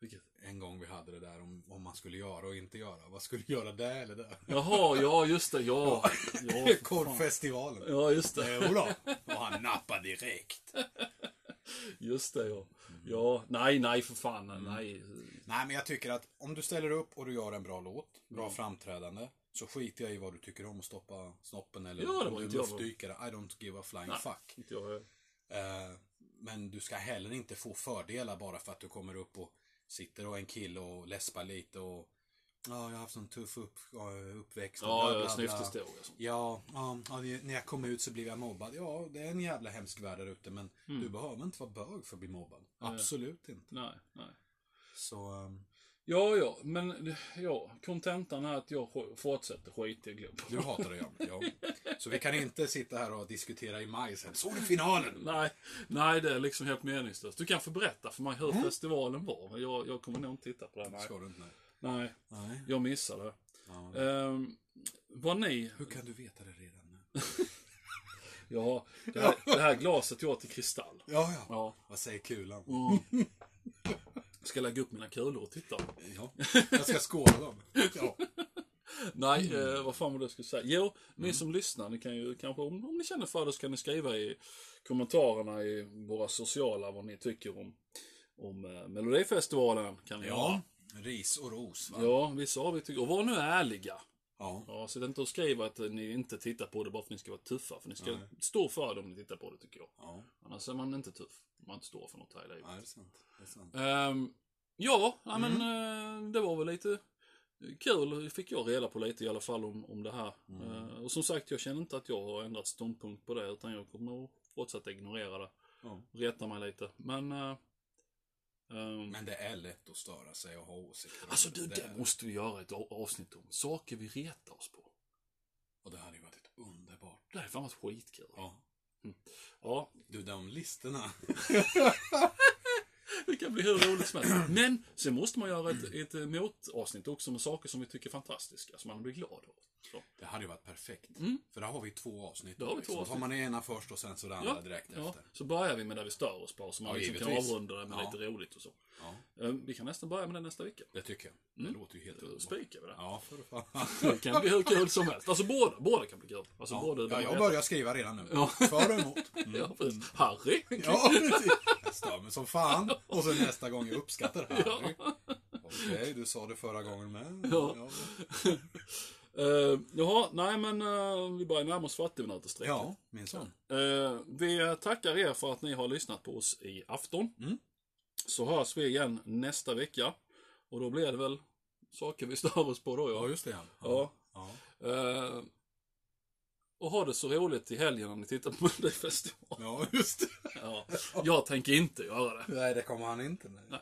Speaker 1: Vilket?
Speaker 2: en gång vi hade det där om vad man skulle göra och inte göra. Vad skulle du göra där eller där?
Speaker 1: Jaha, ja, just det, ja. ja för fan.
Speaker 2: Korvfestivalen.
Speaker 1: Ja, just det.
Speaker 2: Jodå. Och han nappade direkt.
Speaker 1: Just det, ja.
Speaker 2: Mm.
Speaker 1: Ja, nej, nej, för fan, nej.
Speaker 2: Nej, men jag tycker att om du ställer upp och du gör en bra låt, bra
Speaker 1: Mm.
Speaker 2: framträdande, så skiter jag i vad du tycker om att stoppa snoppen eller
Speaker 1: Ja, det var
Speaker 2: om du är
Speaker 1: inte jag.
Speaker 2: luftdykare. I don't give a flying
Speaker 1: Nej.
Speaker 2: fuck.
Speaker 1: Inte jag.
Speaker 2: Eh, Men du ska heller inte få fördelar bara för att du kommer upp och sitter och är en kille och läspar lite och Ja, jag har haft en tuff upp, eh, uppväxt. och bla,
Speaker 1: Ja,
Speaker 2: bla,
Speaker 1: jag
Speaker 2: bla."
Speaker 1: snyfthistoria och sånt.
Speaker 2: Ja, ja, ja, det- när jag kom ut så blev jag mobbad. Ja, det är en jävla hemsk värld där ute men
Speaker 1: Mm.
Speaker 2: du behöver inte vara bög för att bli mobbad. Absolut inte.
Speaker 1: Nej, nej.
Speaker 2: Så, ehm,
Speaker 1: Ja, ja, men ja, kontentan är att jag sk- fortsätter skita i Globen.
Speaker 2: du hatar det, ja. ja. Så vi kan inte sitta här och diskutera i maj sen. Såg du finalen?
Speaker 1: Nej, nej, det är liksom helt meningslöst. Du kan få berätta för mig hur
Speaker 2: Mm.
Speaker 1: festivalen var. men Jag, jag kommer nog inte titta på det. Nej,
Speaker 2: Ska du inte? Nej.
Speaker 1: nej
Speaker 2: Nej.
Speaker 1: jag missade det.
Speaker 2: Ja.
Speaker 1: Ehm, var ni...
Speaker 2: Hur kan du veta det redan nu?
Speaker 1: Ja, det här, det här glaset jag har till kristall.
Speaker 2: Ja, ja.
Speaker 1: Ja, Mm.
Speaker 2: Vad säger kulan?
Speaker 1: jag ska lägga upp mina kulor och titta.
Speaker 2: Ja, jag ska skåla dem. Ja.
Speaker 1: Nej, eh, vad fan var det jag skulle säga? Jo, ni som lyssnar, ni kan ju kanske, om, om ni känner för det, så kan ni skriva i kommentarerna i våra sociala vad ni tycker om, om eh, Melodifestivalen. Kan ni
Speaker 2: ja, ris och ros va?
Speaker 1: göra. Ja, vissa har vi tycker. Och var nu ärliga.
Speaker 2: Ja.
Speaker 1: Ja, så det är inte att skriva att ni inte tittar på det bara för att ni ska vara tuffa. För ni ska stå för det om ni tittar på det, tycker jag.
Speaker 2: Ja,
Speaker 1: Annars är man inte tuff. Om man inte står för något här i livet.
Speaker 2: ja det är sant. Det är sant.
Speaker 1: Ehm, ja, ja, men eh, det var väl lite kul, fick jag reda på lite i alla fall om, om det här. Eh, och som sagt, jag känner inte att jag har ändrat ståndpunkt på det, utan jag kommer att fortsätta ignorera det.
Speaker 2: Ja.
Speaker 1: Reta mig lite. Men... eh, ehm,
Speaker 2: Men det är lätt att störa sig och ha åsikter. om
Speaker 1: alltså du, det
Speaker 2: där.
Speaker 1: måste vi göra ett a- avsnitt om. Saker vi retar oss på.
Speaker 2: Och det hade ju varit underbart.
Speaker 1: Det här är fan varit skitkul. Ja.
Speaker 2: Ja.
Speaker 1: ja,
Speaker 2: Du, de listorna.
Speaker 1: det kan bli hur roligt som helst. Men sen måste man göra ett, ett eh, motavsnitt också med saker som vi tycker är fantastiska, som man blir glad av. Så.
Speaker 2: Det hade ju varit perfekt. För där har vi två avsnitt.
Speaker 1: Där Mm. har vi
Speaker 2: liksom.
Speaker 1: två
Speaker 2: Tar man det ena först och sen så det andra direkt efter.
Speaker 1: Så börjar vi med där vi stör oss på, så man
Speaker 2: Ja,
Speaker 1: liksom kan
Speaker 2: givetvis.
Speaker 1: avrunda det med
Speaker 2: Ja.
Speaker 1: lite roligt och så.
Speaker 2: Ja.
Speaker 1: Eh, Vi kan nästan börja med det nästa vecka.
Speaker 2: Det tycker jag.
Speaker 1: Mm.
Speaker 2: Det låter ju helt
Speaker 1: Då
Speaker 2: underbart.
Speaker 1: spikar vi det.
Speaker 2: Ja, för fan.
Speaker 1: Det kan bli hur kul som helst. Alltså båda, båda kan bli kul. Alltså både...
Speaker 2: Ja,
Speaker 1: de
Speaker 2: jag
Speaker 1: här-
Speaker 2: börjar skriva redan nu.
Speaker 1: Ja.
Speaker 2: För och emot. Mm.
Speaker 1: Ja, precis. Harry!
Speaker 2: Ja, precis. Jag stör mig som fan. Och så nästa gång jag uppskattar Harry. Okej, du sa det förra gången med.
Speaker 1: Ja.
Speaker 2: Ja,
Speaker 1: Eh, jaha, nej men eh, vi börjar närma oss 40 minuter strecket.
Speaker 2: ja min son.
Speaker 1: Eh, vi tackar er för att ni har lyssnat på oss i afton.
Speaker 2: Mm.
Speaker 1: Så hörs vi igen nästa vecka. Och då blir det väl saker vi stör oss på då ja.
Speaker 2: Ja, just det. Ja.
Speaker 1: Ja.
Speaker 2: Ja.
Speaker 1: Eh, och ha det så roligt i helgen när ni tittar på Melodifestivalen.
Speaker 2: ja, just det.
Speaker 1: Ja, jag tänker inte göra det.
Speaker 2: Nej, det kommer han inte. Nej.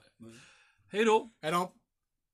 Speaker 1: Hej då!
Speaker 2: Hej då.